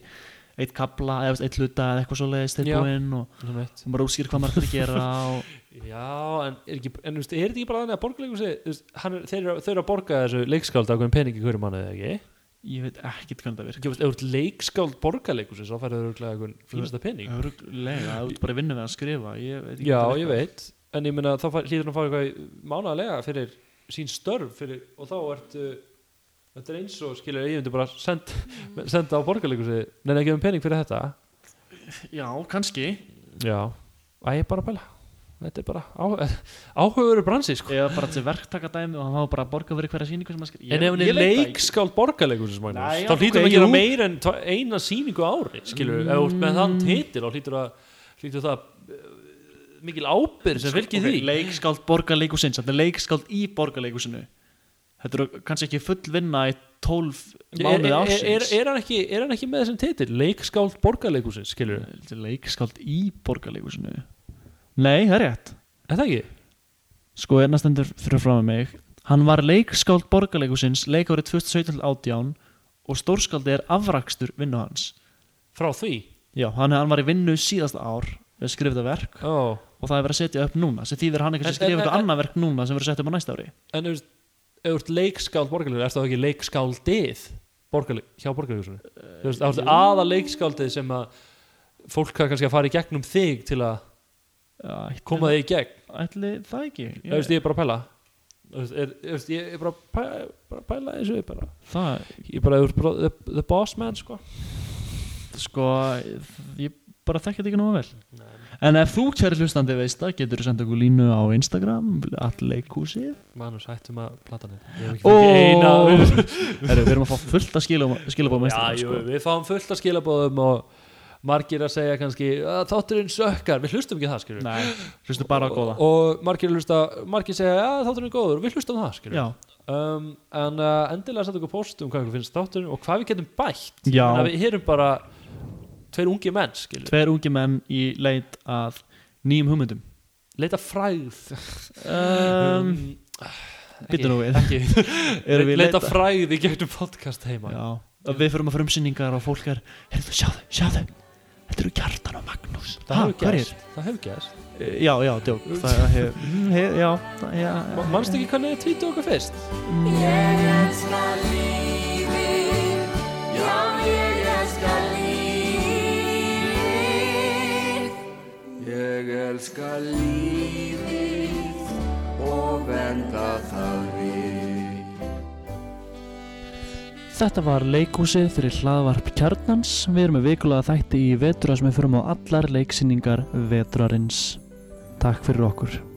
Speaker 5: eitt kabla eða þú veist, eitt hluta eða eitthvað svoleiðis tilbúinn og
Speaker 1: svona eitt
Speaker 5: sem bara útskýr hvað maður ætlar að gera og
Speaker 1: Já, en er, ekki, en, þú veist, er þetta ekki bara þannig að borgarleikursi þeir, eru- þeir eru að borga þessu leikskálda ákveðin peningi hverju manni eða ekki
Speaker 5: ég veit ekkert hvernig það
Speaker 1: Ég veist, ef þú ert leikskáld borgarleikursi svo færðu þau auðvitað einhvern fínasta pening
Speaker 5: virkar öruglega, þú ert bara vinnu við að skrifa ég veit ekki
Speaker 1: Já,
Speaker 5: hvað það
Speaker 1: ég
Speaker 5: virkar.
Speaker 1: veit En ég meina, þá fær- hlýtur hann að fá eitthvað mánaðlega fyrir sín störf fyrir, og þá ertu Þetta er eins og skilur, ég myndi bara send, senda á borgarleikursi Nei, ekki um pening fyrir þetta
Speaker 5: já, kannski
Speaker 1: Já, að ég er bara að pæla Þetta er bara á, áhugaveru bransi sko.
Speaker 5: eða bara til verktakadæmi og hann hafa bara að borga fyrir hverja síningu sem maður skrifa
Speaker 1: En ef hún er leikskáld borgarleikur
Speaker 5: Nei,
Speaker 1: þá
Speaker 5: já,
Speaker 1: hlýtur það
Speaker 5: ok,
Speaker 1: að gera
Speaker 5: jú.
Speaker 1: meira en tva- eina sýningu á ári skilur, ef þú ert með
Speaker 5: Mm.
Speaker 1: þann titil þá hlýtur það, hlýtur það eh, mikil ábyrð
Speaker 5: Sko,
Speaker 1: sem fylgir því
Speaker 5: leikskáld borgarleikusins, þetta er leikskáld í borgarleikusinu þetta eru kannski ekki full vinna í 12
Speaker 1: er, er,
Speaker 5: mánuði
Speaker 1: er,
Speaker 5: ásins
Speaker 1: er, hann ekki, er hann ekki með þessum titil leikskáld borgarleikusins skilur
Speaker 5: Þetta er leikskáld í borgarleikusinu nei, það er rétt
Speaker 1: þetta ekki?
Speaker 5: sko er næstendur fyrir fram með mig hann var leikskáld borgarleikusins leikárið 2017-18 og stórskáldið er afrakstur vinnu hans
Speaker 1: Frá því?
Speaker 5: já, hann, hann var í vinnu síðasta ár við að skrifa þetta verk
Speaker 1: Ó.
Speaker 5: og það er verið að setja upp núna sem þýðir að hann eitthvað
Speaker 1: En-
Speaker 5: sem skrifa
Speaker 1: en-
Speaker 5: eitthvað
Speaker 1: en-
Speaker 5: annað verk núna sem verið að setja upp á næsta ári
Speaker 1: En ef þú ert- ef þú ert leikskáld borgarleikur er það ekki leikskáldið borgarleik, hjá borgarleikursunni Þú veist, það er aða leikskáldið sem að fólk kann kannski að fara í gegnum þig til að
Speaker 5: ætli,
Speaker 1: koma þig í gegn
Speaker 5: ætli það ekki
Speaker 1: Þú veist, ég er bara að pæla Þú veist, er- þú veist, ég er bara að pæla, bara að pæla eins og ég bara
Speaker 5: það,
Speaker 1: Ég er bara, þú ert bara the, the boss man, sko
Speaker 5: sko ég bara þekki þetta ekki nógu vel en ef þú kæri hlustandi veist það getur þú senda okkur línu á Instagram allleikúsið
Speaker 1: Manus, hættum um að plata þetta Ég hef ekki
Speaker 5: Ó.
Speaker 1: fengið eina
Speaker 5: [laughs] Herru, við erum að fá fullt að skilabóð með
Speaker 1: Já,
Speaker 5: Instagram
Speaker 1: jú,
Speaker 5: sko.
Speaker 1: við fáum fullt að skilabóðum og margir að segja kannski "Ah, þátturinn sökkar, við hlustum ekki á það, skilur
Speaker 5: Nei, hlustu bara að góða
Speaker 1: og margir hlusta, margir segja að þátturinn er góður, við hlustum á það skilur
Speaker 5: Já,
Speaker 1: um, en uh, endilega senda okkur post um hvað ykkur finnst þátturinn og hvað við getum bætt
Speaker 5: Já.
Speaker 1: Þannig að við erum bara tveir ungi menn skilur,
Speaker 5: tveir ungi menn í leit að nýjum hugmyndum
Speaker 1: leita fræð
Speaker 5: um, Býttu nú við
Speaker 1: ekki,
Speaker 5: [laughs] Erum við í
Speaker 1: leita
Speaker 5: leit að-
Speaker 1: fræð í gegnum podcast heima
Speaker 5: Já, og við förum að frumsýningar og fólk er Heyrðu, sjáðu, sjáðu Þetta eru Kjartan og Magnús
Speaker 1: það
Speaker 5: Ha,
Speaker 1: hefur
Speaker 5: hverjir?
Speaker 1: gerst, það hefur gerst
Speaker 5: Eh, Já, já, djók Það hefur, hef, já, það- já
Speaker 1: Ma- manstu ekki hvernig þið tvítu okkur fyrst
Speaker 3: Ég elska lífið, já ég elska lífið
Speaker 4: Ég elska lífið og venda það við.
Speaker 5: Þetta var leikhúsið fyrir hlaðvarp kjarnans. Við erum með vikulega þætti í vetura sem við förum á allar leiksýningar veturarins. Takk fyrir okkur.